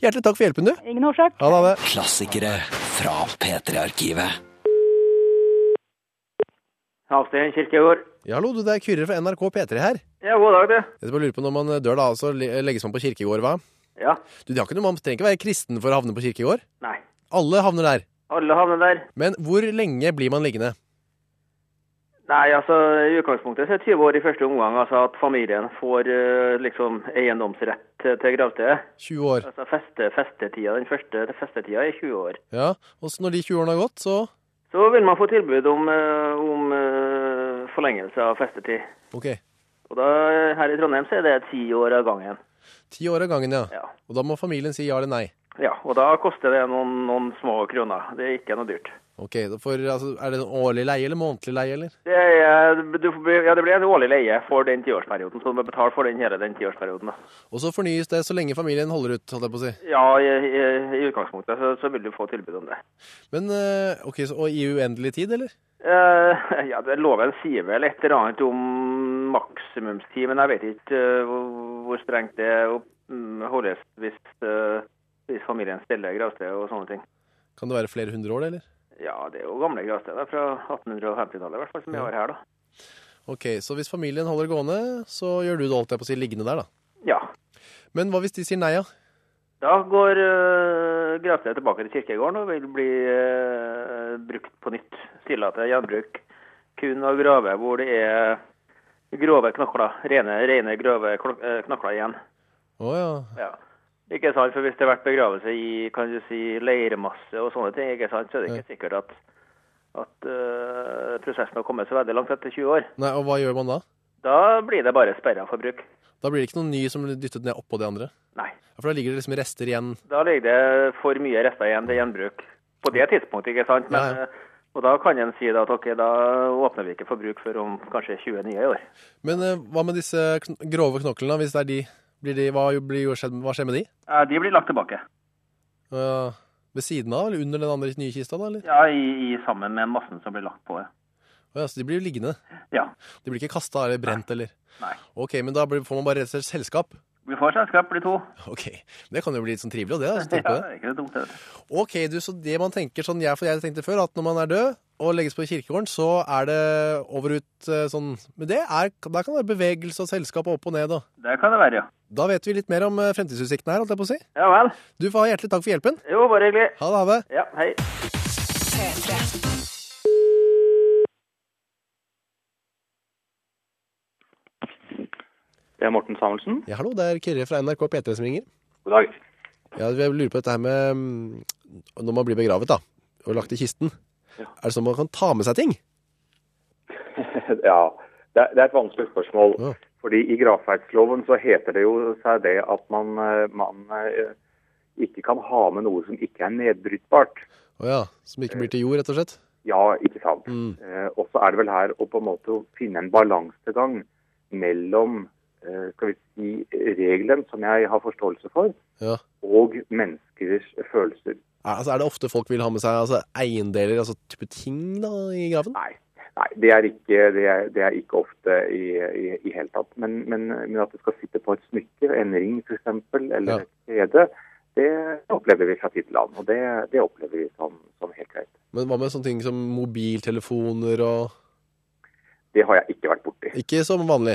S7: Hjertelig takk for hjelpen, du.
S16: Ingen årsak.
S7: Ha det, ha det.
S3: Klassikere fra P3-arkivet.
S17: Havstein Kirkegård.
S7: Ja, hallo, du, det er Kyrre fra NRK P3 her.
S17: Ja, god dag, du.
S7: Jeg bare lurer på Når man dør, da, så le- legges man på kirkegård, hva?
S17: Ja.
S7: Du, det har ikke noe, Man trenger ikke være kristen for å havne på kirkegård.
S17: Nei.
S7: Alle havner der.
S17: Alle havner der.
S7: Men hvor lenge blir man liggende?
S17: Nei, altså, i utgangspunktet så er 20 år i første omgang, altså at familien får eh, liksom eiendomsrett til, til gravstedet.
S7: 20 år.
S17: Altså feste, festetida, den første festetida er 20 år.
S7: Ja, og så Når de 20 årene har gått, så
S17: Så vil man få tilbud om, eh, om eh, forlengelse av festetid.
S7: OK.
S17: Og da, her i Trondheim så er det ti år av gangen.
S7: Ti år av gangen, ja.
S17: Ja.
S7: Og da må familien si ja eller nei.
S17: Ja, og da koster det noen, noen små kroner. Det er ikke noe dyrt.
S7: Ok, da får- altså, Er det en årlig leie eller månedlig leie, eller?
S17: Det, er, eh, du, får- ja, det blir en årlig leie for den tiårsperioden, så du må betale for den hele den tiårsperioden. da.
S7: Og så fornyes det så lenge familien holder ut, holdt jeg på å si.
S17: Ja, i, i, i utgangspunktet så, så vil du få tilbud om det.
S7: Men eh, ok, så, Og i uendelig tid, eller?
S17: Eh, ja, det- Loven sier vel et eller annet om maksimumstid, men jeg vet ikke eh, hvor, hvor strengt det er å mm, holdes hvis, eh, hvis familien steller gravsted og sånne ting.
S7: Kan det være flere hundre år, det, eller?
S17: Ja, det er jo gamle gravsted da, fra 1850-tallet i hvert fall, som vi har her da.
S7: Ok, Så hvis familien holder gående, så gjør du det holdt jeg på å si, liggende der, da?
S17: Ja.
S7: Men hva hvis de sier nei, da?
S17: Da går uh, gravstedet tilbake til kirkegården og vil bli eh, brukt på nytt. Tillate gjenbruk kun av grave hvor det er grove knokler, rene, rene grove klok- eh, knokler igjen.
S7: Å ja.
S17: Ja. Ikke sant, for hvis det har vært begravelse i kan du si, leirmasse og sånne ting, ikke sant, så er det ikke sikkert at, at eh, prosessen har kommet så veldig langt etter 20 år.
S7: Nei, Og hva gjør man da?
S17: Da blir det bare sperra for bruk.
S7: Da blir det ikke noen ny som blir dyttet ned oppå de andre?
S17: Nei.
S7: Ja, For da ligger det liksom rester igjen?
S17: Da ligger det for mye rester igjen til gjenbruk. På det tidspunktet, ikke sant? Men, eh, Og da kan en si da at ok, da åpner vi ikke for bruk før om kanskje 20 nye år.
S7: Men eh, hva med disse kn grove knoklene, hvis det er de? Blir de hva, blir jo skjedd, hva skjer med de?
S17: Eh, De blir lagt tilbake.
S7: Eh, ved siden av, eller under den andre nye kista, da? eller?
S17: Ja, i, i sammen med massen som blir lagt på. ja.
S7: Å ja, så de blir jo liggende?
S17: Ja.
S7: De blir ikke kasta eller brent, eller?
S17: Nei.
S7: Ok, men da blir, får man bare rett og slett selskap?
S17: Vi får selskap, blir to.
S7: Ok, Det kan jo bli litt sånn trivelig, og det. da, hvis du
S17: Ja,
S7: tenker på det.
S17: det er ikke det dumt. det.
S7: Ok, du, så det man tenker sånn jeg, for jeg tenkte før, at når man er død og legges på kirkegården, så er det over ut eh, sånn Men det er, der kan det være bevegelse og selskap opp og ned og
S17: Det kan det være, ja.
S7: Da vet vi litt mer om eh, fremtidsutsiktene her, holdt jeg på å si.
S17: Ja vel.
S7: Du får ha hjertelig takk for hjelpen.
S17: Jo, bare hyggelig.
S7: Ha det, ha det.
S17: Ja, hei.
S18: Det er Morten Samuelsen.
S7: Ja, hallo, det er Kyrre fra NRK P3 som ringer.
S18: God dag.
S7: Ja, jeg lurer på dette her med mm, Når man blir begravet, da, og lagt i kisten, er det sånn man kan ta med seg ting?
S18: ja, det er, det er et vanskelig spørsmål. Fordi I gravferdsloven så heter det jo seg det at man, eh, man eh, ikke kan ha med noe som ikke er nedbrytbart.
S7: Å ja, som ikke blir til jord, rett og slett?
S18: Ja, ikke sant. Eh, og så er det vel her å på en måte finne en balansegang mellom eh, skal vi si, regelen, som jeg har forståelse for,
S7: Ja.
S18: og menneskers følelser.
S7: Er, altså, er det ofte folk vil ha med seg altså, eiendeler, altså type ting, da, i graven?
S18: Nei. Nei, det er ikke, det er, det er ikke ofte i i, i hele tatt. Men, men, men at det skal sitte på et smykke, en ring f.eks., eller et kjede, det opplever vi fra tid til annen. Og det, det opplever vi som, som helt greit.
S7: Men hva med sånne ting som mobiltelefoner og
S18: Det har jeg ikke vært borti.
S7: Ikke som vanlig?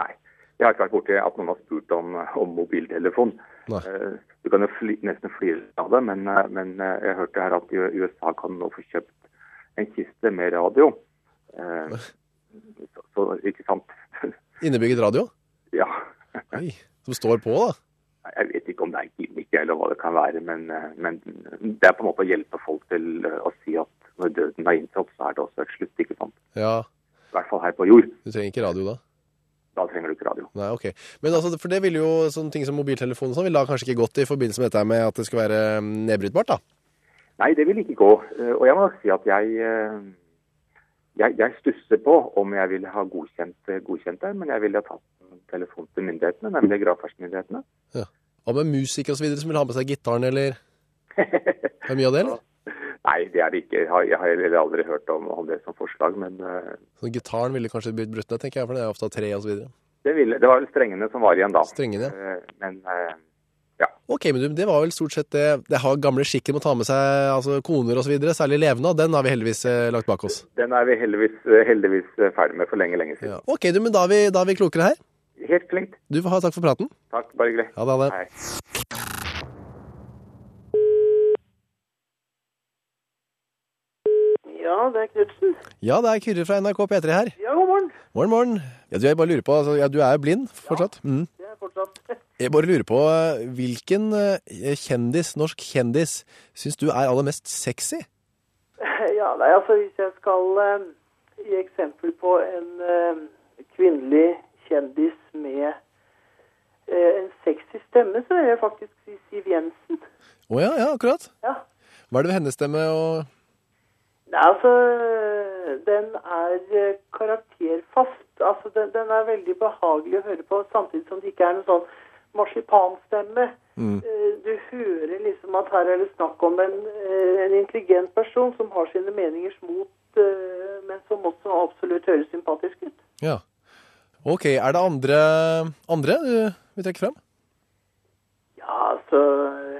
S18: Nei. Jeg har ikke vært borti at noen har spurt om, om mobiltelefon.
S7: Nei.
S18: Eh, Du kan jo fly, nesten flire av det, men, eh, men eh, jeg hørte her at i i USA kan nå få kjøpt en kiste med radio. Eh, Så, så ikke sant?
S7: Innebygget radio?
S18: Ja.
S7: Oi, som står på, da?
S18: Jeg vet ikke om det er gimmick eller hva det kan være, men, eh, men det er på en måte å hjelpe folk til eh, å si at når døden er inntrådt, så er det også et slutt, ikke sant?
S7: Ja,
S18: I hvert fall her på jord.
S7: du trenger ikke radio da?
S18: Da trenger du ikke radio.
S7: Nei, ok. Men altså, for det ville jo sånne ting som mobiltelefon og sånn, ville da kanskje ikke gått i forbindelse med dette her med at det skal være mm, nedbrytbart, da?
S18: Nei, det vil ikke gå. Eh, Og jeg må si at jeg, eh, jeg, jeg stusser på om jeg ville ha godkjent, eh, godkjent det, men jeg ville ha tatt en telefon til myndighetene, nemlig gravferdsmyndighetene.
S7: Ja. Hva med musikere og så videre som vil ha med seg gitaren, eller? Er det mye av det, eller?
S18: Nei, det er det ikke. Jeg har, jeg har heller aldri hørt om, om det som forslag, men eh,
S7: Så gitaren ville kanskje blitt brutt ned, tenker jeg, for det er ofte av tre og så videre.
S18: det, ville, det var vel strengene som var igjen da.
S7: Strengene,
S18: ja. Men eh,
S7: Ok, men du, det var vel stort sett det. Det har gamle skikken med å ta med seg altså, koner og så videre, særlig levende, og den har vi heldigvis eh, lagt bak oss.
S18: den er vi heldigvis, eh, heldigvis eh, ferdig med for lenge, lenge siden.
S7: Ok, du, men da er vi, da er vi klokere her.
S18: Helt klinkt.
S7: Du får ha takk for praten.
S18: Takk, bare hyggelig.
S7: Ha det, ha det.
S19: Ja, det er Knutsen.
S7: Ja, det er Kyrre fra NRK P3 her.
S19: Ja, god morgen.
S7: Morgen, morgen. Ja, du, jeg bare lurer på, altså, ja, du er jo blind fortsatt. Mm.
S19: Det er fortsatt.
S7: Jeg bare lurer på, eh, hvilken eh, kjendis, norsk kjendis, synes du er aller mest sexy?
S19: Ja, nei, altså hvis jeg skal eh, gi eksempel på en eh, kvinnelig kjendis med eh, en sexy stemme, så vil jeg faktisk si Siv Jensen.
S7: Å ja, ja, akkurat.
S19: Ja.
S7: Hva er det ved hennes stemme og...
S19: Nei, altså, den er eh, karakterfast. Altså, den, den er veldig behagelig å høre på, samtidig som det ikke er noen sånn marsipanstemme.
S7: Mm.
S19: Eh, Du hører liksom at her er det snakk om en, eh, en intelligent person som har sine meninger mot, eh, men som også absolutt høres sympatisk ut.
S7: Ja. Ok, er det andre, andre du vil trekke frem?
S19: Ja, altså,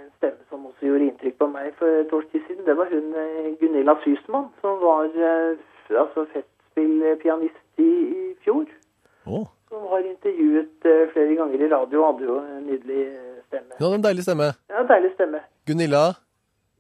S19: en stemme som også gjorde inntrykk på meg for et års tid siden, det var hun eh, Gunilla Sysmann, som var eh, altså, festspillpianist i, i fjor.
S7: Åh.
S19: som har intervjuet eh, flere ganger i radio, hadde jo en nydelig eh, stemme.
S7: Hun hadde en deilig stemme.
S19: Ja, deilig stemme.
S7: Gunilla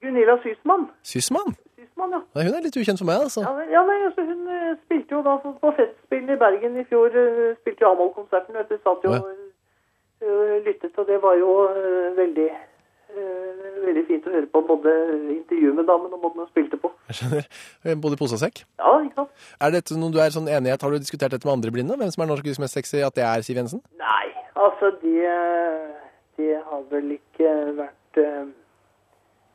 S19: Gunilla Sysmann.
S7: Sysmann?
S19: Sysmann, ja.
S7: Nei, hun er litt ukjent for meg, altså.
S19: Ja, nei, ja, nei, altså, hun eh, spilte jo da på- på Festspillen i Bergen i fjor. eh, spilte jo Amol-konserten, vet du. Satt jo
S7: Å,
S19: og eh, lyttet, og det var jo eh, veldig eh, Veldig fint å høre på både intervjuet med damen og måten hun spilte på.
S7: Jeg skjønner. Både i pose og sekk.
S19: Ja, ikke sant?
S7: Er dette noe du er sånn enighet? Har du diskutert dette med andre blinde? Hvem som er norsk mest sexy? At det er Siv Jensen?
S19: Nei, altså det Det har vel ikke vært eh,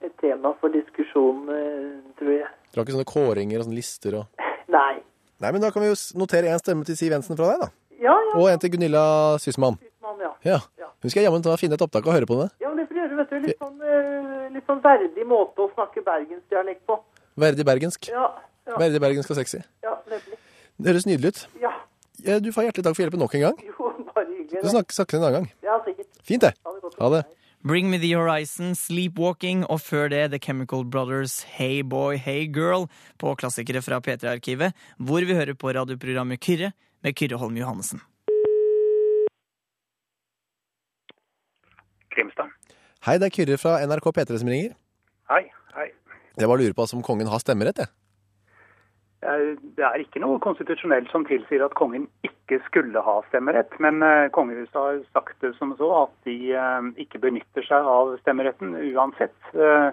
S19: et tema for diskusjon, eh, tror jeg.
S7: Dere har ikke sånne kåringer og sånne lister og
S19: Nei.
S7: Nei, men da kan vi jo s- notere en stemme til Siv Jensen fra deg, da.
S19: Ja, ja.
S7: Og en til Gunilla Sysmann.
S19: Mann, ja.
S7: Ja. Hun skal jammen ta- finne et opptak og høre på det.
S19: Ja, men det får du gjøre, vet du. Litt sånn, eh, litt sånn verdig måte å snakke bergensdialekt på.
S7: Verdig bergensk.
S19: Ja. ja.
S7: Verdig bergensk og sexy.
S19: Ja, nemlig.
S7: Det høres nydelig ut.
S19: Ja.
S7: Ja, Du får hjertelig takk for hjelpen nok en gang.
S19: Jo, bare hyggelig.
S7: Du snakker, snakker en annen gang.
S19: Ja, sikkert.
S7: Fint, det.
S19: Ha det godt.
S7: Ha det.
S4: Bring Me The Horizon, Sleepwalking og før det The Chemical Brothers, Hey Boy, Hey Girl på klassikere fra P3-arkivet, hvor vi hører på radioprogrammet Kyrre med Kyrre Holm Johannessen.
S20: Grimstad.
S7: Hei, det er Kyrre fra NRK P3 som ringer.
S20: Hei, hei.
S7: Jeg bare lurer på altså, om kongen har stemmerett, jeg.
S20: Eh, Det er ikke noe konstitusjonelt som tilsier at kongen ikke skulle ha stemmerett, men eh, kongehuset har sagt det som så at de eh, ikke benytter seg av stemmeretten uansett. Eh,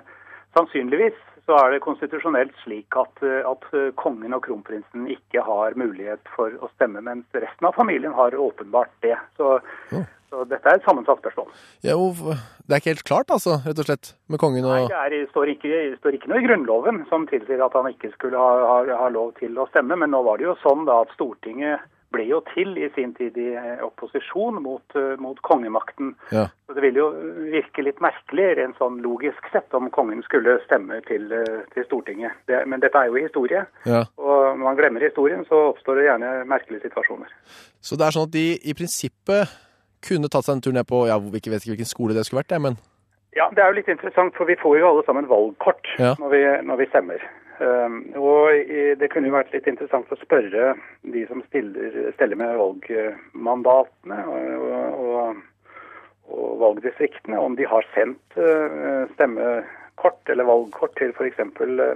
S20: Sannsynligvis så er det konstitusjonelt slik at, eh, at eh, kongen og kronprinsen ikke har mulighet for å stemme, mens resten av familien har åpenbart det. Så, så dette er et sammensatt spørsmål.
S7: Ja, hvorfor- det er ikke helt klart, altså, rett og slett, med kongen og
S20: Nei, det er, det står, ikke, det står ikke noe i Grunnloven som tilsier at han ikke skulle ha, ha, ha lov til å stemme, men nå var det jo sånn da at Stortinget ble jo til i sin tid i eh, opposisjon mot, eh, mot kongemakten.
S7: Ja.
S20: Så det ville jo virke litt merkelig rent sånn logisk sett om kongen skulle stemme til, eh, til Stortinget. Det, men dette er jo historie,
S7: Ja.
S20: og når man glemmer historien, så oppstår det gjerne merkelige situasjoner.
S7: Så det er sånn at de i prinsippet kunne tatt seg en tur ned på Jeg vet ikke hvilken skole det skulle vært, jeg, men
S20: Ja, det er jo litt interessant, for vi får jo alle sammen valgkort
S7: Ja.
S20: når, vi, når vi stemmer. Um, og i- det kunne jo vært litt interessant å spørre de som stiller, steller med valgmandatene og, og, og valgdistriktene, om de har sendt uh, stemmekort eller valgkort til f.eks.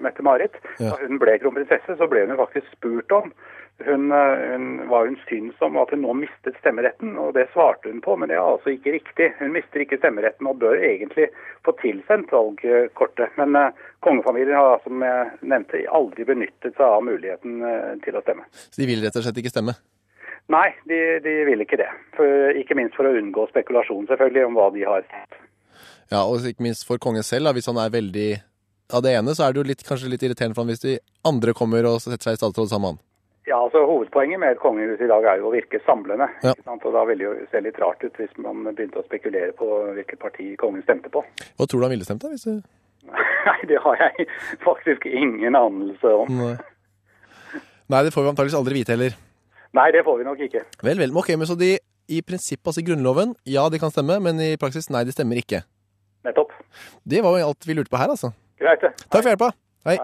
S20: Mette-Marit.
S2: Ja.
S20: Da hun ble kronprinsesse, så ble hun jo faktisk spurt om hun, eh, hun, hva hun syns om at hun nå mistet stemmeretten, og det svarte hun på, men det er altså ikke riktig. Hun mister ikke stemmeretten og bør egentlig få tilsendt valgkortet. Men eh, kongefamilien har, altså, som jeg nevnte, aldri benyttet seg av muligheten eh, til å stemme.
S7: Så de vil rett og slett ikke stemme.
S20: Nei, de, de vil ikke det. For, ikke minst for å unngå spekulasjon, selvfølgelig, om hva de har sett.
S7: Ja, Og ikke minst for kongen selv, da, hvis han er veldig av det ene, så er det jo litt, kanskje litt irriterende for han hvis de andre kommer og setter seg i statsråd sammen med han.
S20: Ja, altså Hovedpoenget med et kongehus i dag er jo å virke samlende.
S7: Ja.
S20: Ikke sant? Og Da ville det jo se litt rart ut hvis man begynte å spekulere på hvilket parti kongen stemte på.
S7: Hva tror du han ville stemt, da? Hvis det...
S20: Nei, det har jeg faktisk ingen anelse om.
S7: Nei. Nei, det får vi antakeligvis aldri vite heller.
S20: Nei, det får vi nok ikke.
S7: Vel, vel. men Ok, men så de i prinsippet, altså i Grunnloven, ja, de kan stemme, men i praksis, nei, de stemmer ikke.
S20: Nettopp.
S7: Det var jo alt vi lurte på her, altså.
S20: Greit, det.
S7: Takk for hjelpa. Hei.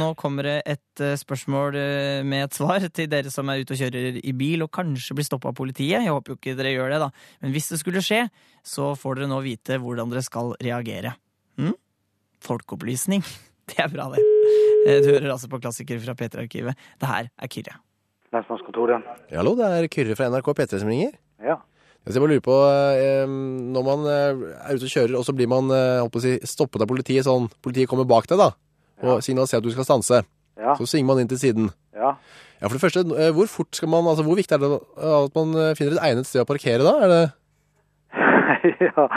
S4: Nå kommer det et eh, spørsmål eh, med et svar til dere som er ute og kjører i bil og kanskje blir stoppa av politiet. Jeg håper jo ikke dere gjør det, da. Men hvis det skulle skje, så får dere nå vite hvordan dere skal reagere. Hm? Folkeopplysning. Det er bra, det. Eh, Du hører altså på klassikere fra P3-arkivet. Det her er Kyrre.
S21: Lensmannskontoret.
S7: Hallo, det er Kyrre fra NRK P3 som ringer.
S21: Ja.
S7: Jeg skal bare lure på, eh, når man eh, er ute og kjører, og så blir man eh, holdt på å si, stoppet av politiet, sånn, politiet kommer bak deg da, og signaliserer at du skal stanse.
S21: Ja.
S7: Så svinger man inn til siden.
S21: Ja.
S7: Ja, for det første, eh, hvor fort skal man, altså hvor viktig er det eh, at man eh, finner et egnet sted å parkere da? Er det,
S21: ja.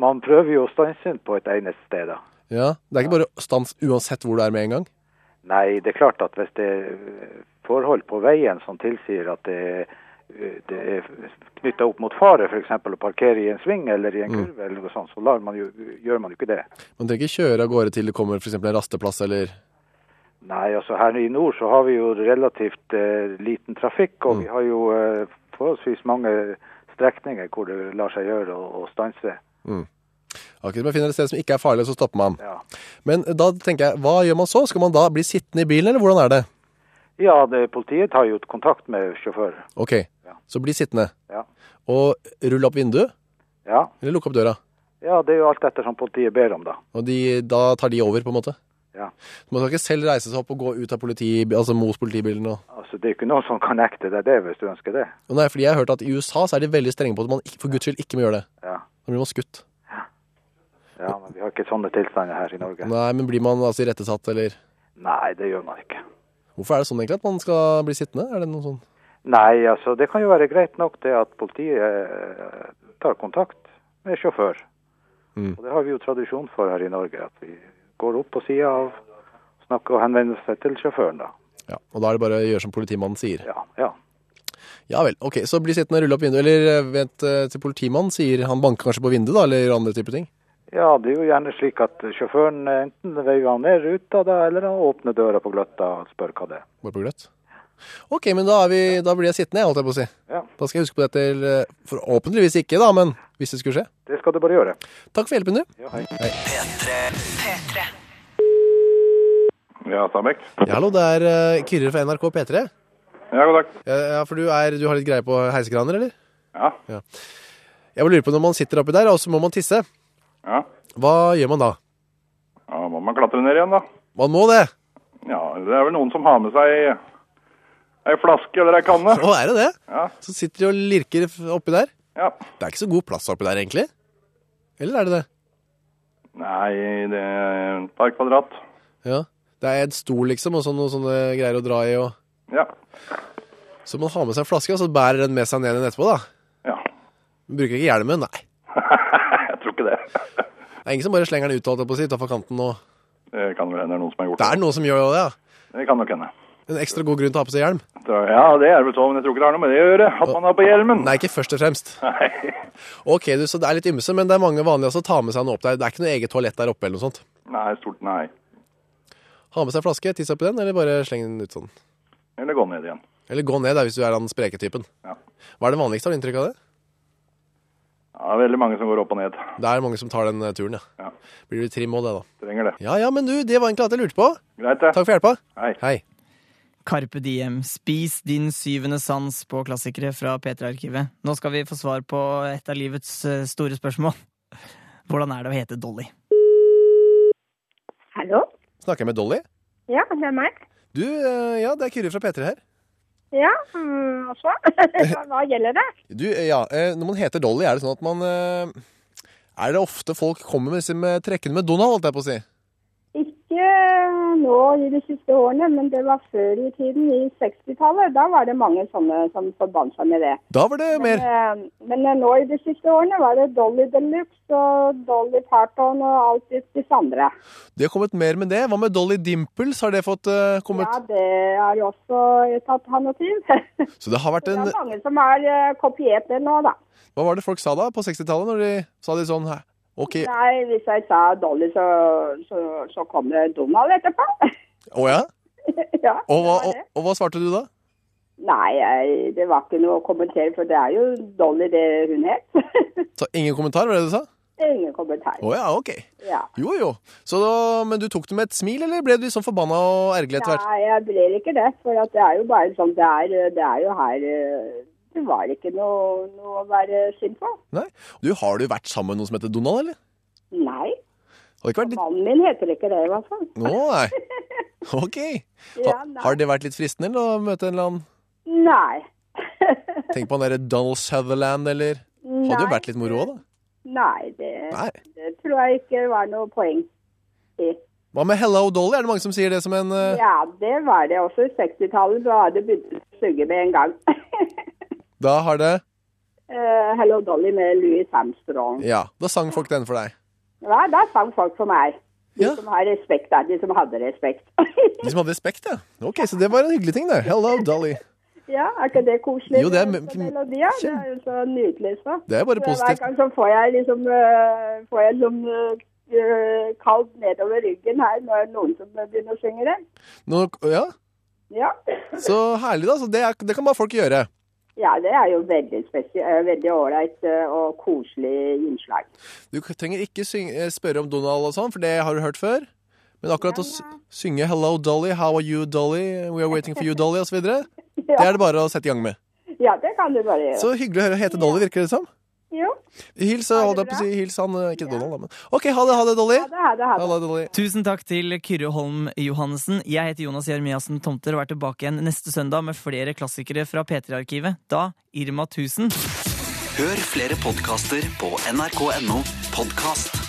S21: Man prøver jo å stanse inn på et egnet sted, da.
S7: ja, det er ikke bare stans uansett hvor du er med en gang.
S21: Nei, det er klart at hvis det er eh, forhold på veien som tilsier at det er eh, det er knytta opp mot fare, f.eks. å parkere i en sving eller i en
S7: Mm.
S21: kurve, eller noe sånt, så lar man jo, gjør man jo ikke det.
S7: Man trenger ikke kjøre av gårde til det kommer for eksempel en rasteplass eller...
S21: Nei, altså her i nord så har vi jo relativt eh, liten trafikk, og vi har jo eh, forholdsvis mange strekninger hvor det lar seg gjøre å, å stanse.
S7: Mm. Akkurat man finner et sted som ikke er farlig, så stopper man.
S21: Ja.
S7: Men eh, da tenker jeg, hva gjør man så? Skal man da bli sittende i bilen, eller hvordan er det?
S21: Ja, det, politiet tar jo kontakt med sjåfør.
S7: Ok, så bli sittende.
S21: Ja.
S7: Og rulle opp vinduet,
S21: Ja.
S7: eller lukke opp døra.
S21: ja, det er jo alt etter som politiet ber om, da.
S7: Og de, da tar de over, på en måte.
S21: Ja.
S7: Så man skal ikke selv reise seg opp og gå ut av politi, altså mot politibilen. Og...
S21: Altså, det er jo ikke noen som kan nekte deg det hvis du ønsker det.
S7: Og nei, fordi jeg har hørt at i USA så er de veldig strenge på at man ikke, for guds skyld ikke må gjøre det.
S21: Ja.
S7: Da blir man skutt.
S21: ja, men vi har ikke sånne tilstander her i Norge.
S7: Nei, men blir man altså irettesatt, eller
S21: Nei, det gjør man ikke.
S7: Hvorfor er det sånn egentlig at man skal bli sittende? Er det noe sånn?
S21: Nei, altså, det kan jo være greit nok det at politiet eh, tar kontakt med sjåfør.
S7: Mm.
S21: Og det har vi jo tradisjon for her i Norge, at vi går opp på sida av snakker og henvender seg til sjåføren, da.
S7: Ja. Og da er det bare å gjøre som politimannen sier.
S21: Ja, ja.
S7: Ja vel. Ok, så bli sittende og rulle opp vinduet, eller eh, vent eh, til politimannen sier Han banker kanskje på vinduet, da, eller andre typer ting.
S21: Ja, det er jo gjerne slik at sjåføren eh, enten veiver han ned ruta da, eller han åpner døra på gløtta og spør hva det er.
S7: Bare på gløtt. Ok, men da, er vi, da blir jeg sittende, holdt jeg på å si.
S21: Ja.
S7: Da skal jeg huske på dette, eller, eh, forhåpentligvis ikke, da, men hvis det skulle skje.
S21: Det skal du bare gjøre.
S7: Takk for hjelpen, du.
S21: Ja, hei.
S22: Ja, Stabæk.
S7: Ja, hallo, det er eh, Kyrre fra NRK P3.
S22: Ja, god dag.
S7: Ja, ja, for du, er, du har litt greie på heisekraner, eller?
S22: Ja.
S7: Jeg bare lurer på, når man sitter oppi der, og så må man tisse,
S22: Ja.
S7: hva gjør man da?
S22: ja, må man klatre ned igjen, da.
S7: Man må det!
S22: Ja, det er vel noen som har med seg ei flaske eller ei kanne.
S7: Å, er det det?
S22: Ja.
S7: Så sitter de og lirker f- oppi der.
S22: Ja.
S7: Det er ikke så god plass oppi der, egentlig. Eller er det det?
S22: Nei, det er et par kvadrat.
S7: Ja. Det er en stol, liksom, og sånn, noen sånne greier å dra i og
S22: Ja.
S7: Så man har med seg en flaske, og så bærer den med seg ned igjen etterpå, da.
S22: Ja.
S7: Man bruker ikke hjelmen, nei.
S22: Jeg tror ikke det.
S7: Det er ingen som bare slenger den ut holdt jeg på å si, utafor kanten og
S22: Det kan vel hende det er noen som har gjort
S7: Det er noen som gjør det, ja.
S22: Det kan nok hende.
S7: En ekstra god grunn til å ha på seg hjelm.
S22: Ja, det er vel så, men jeg tror ikke det har noe med det å gjøre. At man har på hjelmen.
S7: Nei, ikke først og fremst.
S22: Nei.
S7: Ok, du, så det er litt ymse, men det er mange vanlige som tar med seg noe opp der. Det er ikke noe eget toalett der oppe eller noe sånt.
S22: Nei, stort nei.
S7: Ha med seg flaske, tisse oppi den, eller bare sleng den ut sånn.
S22: Eller gå ned igjen.
S7: Eller gå ned, da, hvis du er den spreke typen.
S22: Ja.
S7: Hva er det vanligste, har du inntrykk av det?
S22: Ja, det er veldig mange som går opp og ned.
S7: Det er mange som tar den eh, turen, ja.
S22: Ja.
S7: Blir du trim òg, det, da.
S22: Trenger det.
S7: Ja ja, men du, det var egentlig alt jeg lurte på.
S22: Greit, det.
S7: Takk for hjelpa.
S22: Hei.
S4: Carpe Diem, spis din syvende sans på klassikere fra P3-arkivet. Nå skal vi få svar på et av livets eh, store spørsmål. Hvordan er det å hete Dolly?
S5: Hallo?
S7: Snakker jeg med Dolly?
S5: Ja, det er meg.
S7: Du, eh, ja, det er Kyrre fra P3 her.
S5: Ja, mm, og så? Hva gjelder det?
S7: Du, eh, ja, eh, når man heter Dolly, er det sånn at man eh, Er det ofte folk kommer med, med trekkene med Donald, holdt jeg på å si?
S5: Ikke eh, nå i de siste årene, men det var før i tiden, i 60-tallet. Da var det mange sånne som forbandt seg med det.
S7: Da var det mer.
S5: Men, eh, men eh, nå i de siste årene var det Dolly Deluxe og Dolly Parton og alt det- disse andre.
S7: De har kommet mer med det. Hva med Dolly Dimples? Har det fått eh, kommet?
S5: Ja, det er jo også et alternativ.
S7: Så det har vært
S5: Det
S7: en
S5: er mange som har eh, kopiert det nå, da.
S7: Hva var det folk sa da på 60-tallet, når de sa de sånn «Hæ, OK. Å
S5: Nei, hvis jeg sa Dolly, så, så, så kom det Donald etterpå.
S7: ja?
S5: ja.
S7: Og hva, og, og hva svarte du da?
S5: Nei, jeg- det var ikke noe å kommentere, for det er jo Dolly det hun het.
S7: Så ingen kommentar, var det det du sa?
S5: Ingen kommentar.
S7: Å ja, OK.
S5: Ja.
S7: Jo jo. Så da, men du tok det med et smil, eller ble du liksom forbanna og ergerlig etter hvert?
S5: Nei, jeg blir ikke det, for at det er jo bare sånn det er. Det er jo her eh, Det var ikke noe, noe å være sint på.
S7: Nei. Du, har du vært sammen med noen som heter Donald, eller?
S5: Nei.
S7: Har det ikke vært litt
S5: Mannen min heter ikke det, i hvert fall.
S7: Å, nei. OK.
S5: Ja,
S7: Ha,
S5: nei.
S7: har det vært litt fristende eller, å møte en eller annen
S5: Nei.
S7: Tenk på han derre Donald Sutherland, eller Hadde jo
S5: Nei.
S7: vært litt moro òg, da.
S5: Nei, det,
S7: Nei.
S5: det tror jeg ikke var noe poeng i.
S7: Hva med Hello Dolly? Er det mange som sier det som en eh,
S5: Ja, det var det også i 60-tallet. Da hadde det begynt å suge med en gang.
S7: Da har det
S5: Eh, Hello Dolly med Louis Armstrong.
S7: Ja. Da sang folk den for deg.
S5: Ja, da sang folk for meg. De som har respekt, da. De som hadde respekt.
S7: De som hadde respekt, ja. OK, så det var en hyggelig ting, det. Hello Dolly.
S5: ja, er ikke det koselig?
S7: Jo, det er
S5: med
S7: me-
S5: sånn melodi, ja. Det er jo så nydelig, så.
S7: Det er bare
S5: Så
S7: positivt.
S5: Hver gang så får jeg liksom eh, får jeg liksom eh, kaldt nedover ryggen her når noen som begynner å synge den.
S7: Nå, ja,
S5: Ja.
S7: Så herlig, da. Så det, er, det kan bare folk gjøre.
S5: ja, det er jo veldig spesielt, veldig ålreit eh, og koselig innslag.
S7: Du trenger ikke syng, eh, spørre om Donald og sånn, for det har du hørt før. Men akkurat å s- synge 'Hello Dolly', 'How are you Dolly', 'We are waiting for you Dolly' osv., det er det bare å sette i gang med.
S5: Ja, det kan du bare gjøre.
S7: Så hyggelig å høre hete Dolly, virker det som.
S5: Jo.
S7: Hils, eh, holdt jeg på å si, hils han eh, Ikke Donald, da, men OK, ha det, ha det, Dolly.
S5: Ha det, ha det.
S4: Tusen takk til Kyrre Holm Johannessen. Jeg heter Jonas Jeremiassen Tomter og er tilbake igjen neste søndag med flere klassikere fra P3-arkivet. Da Irma 1000.
S3: Hør flere podkaster på nrk.no podkast.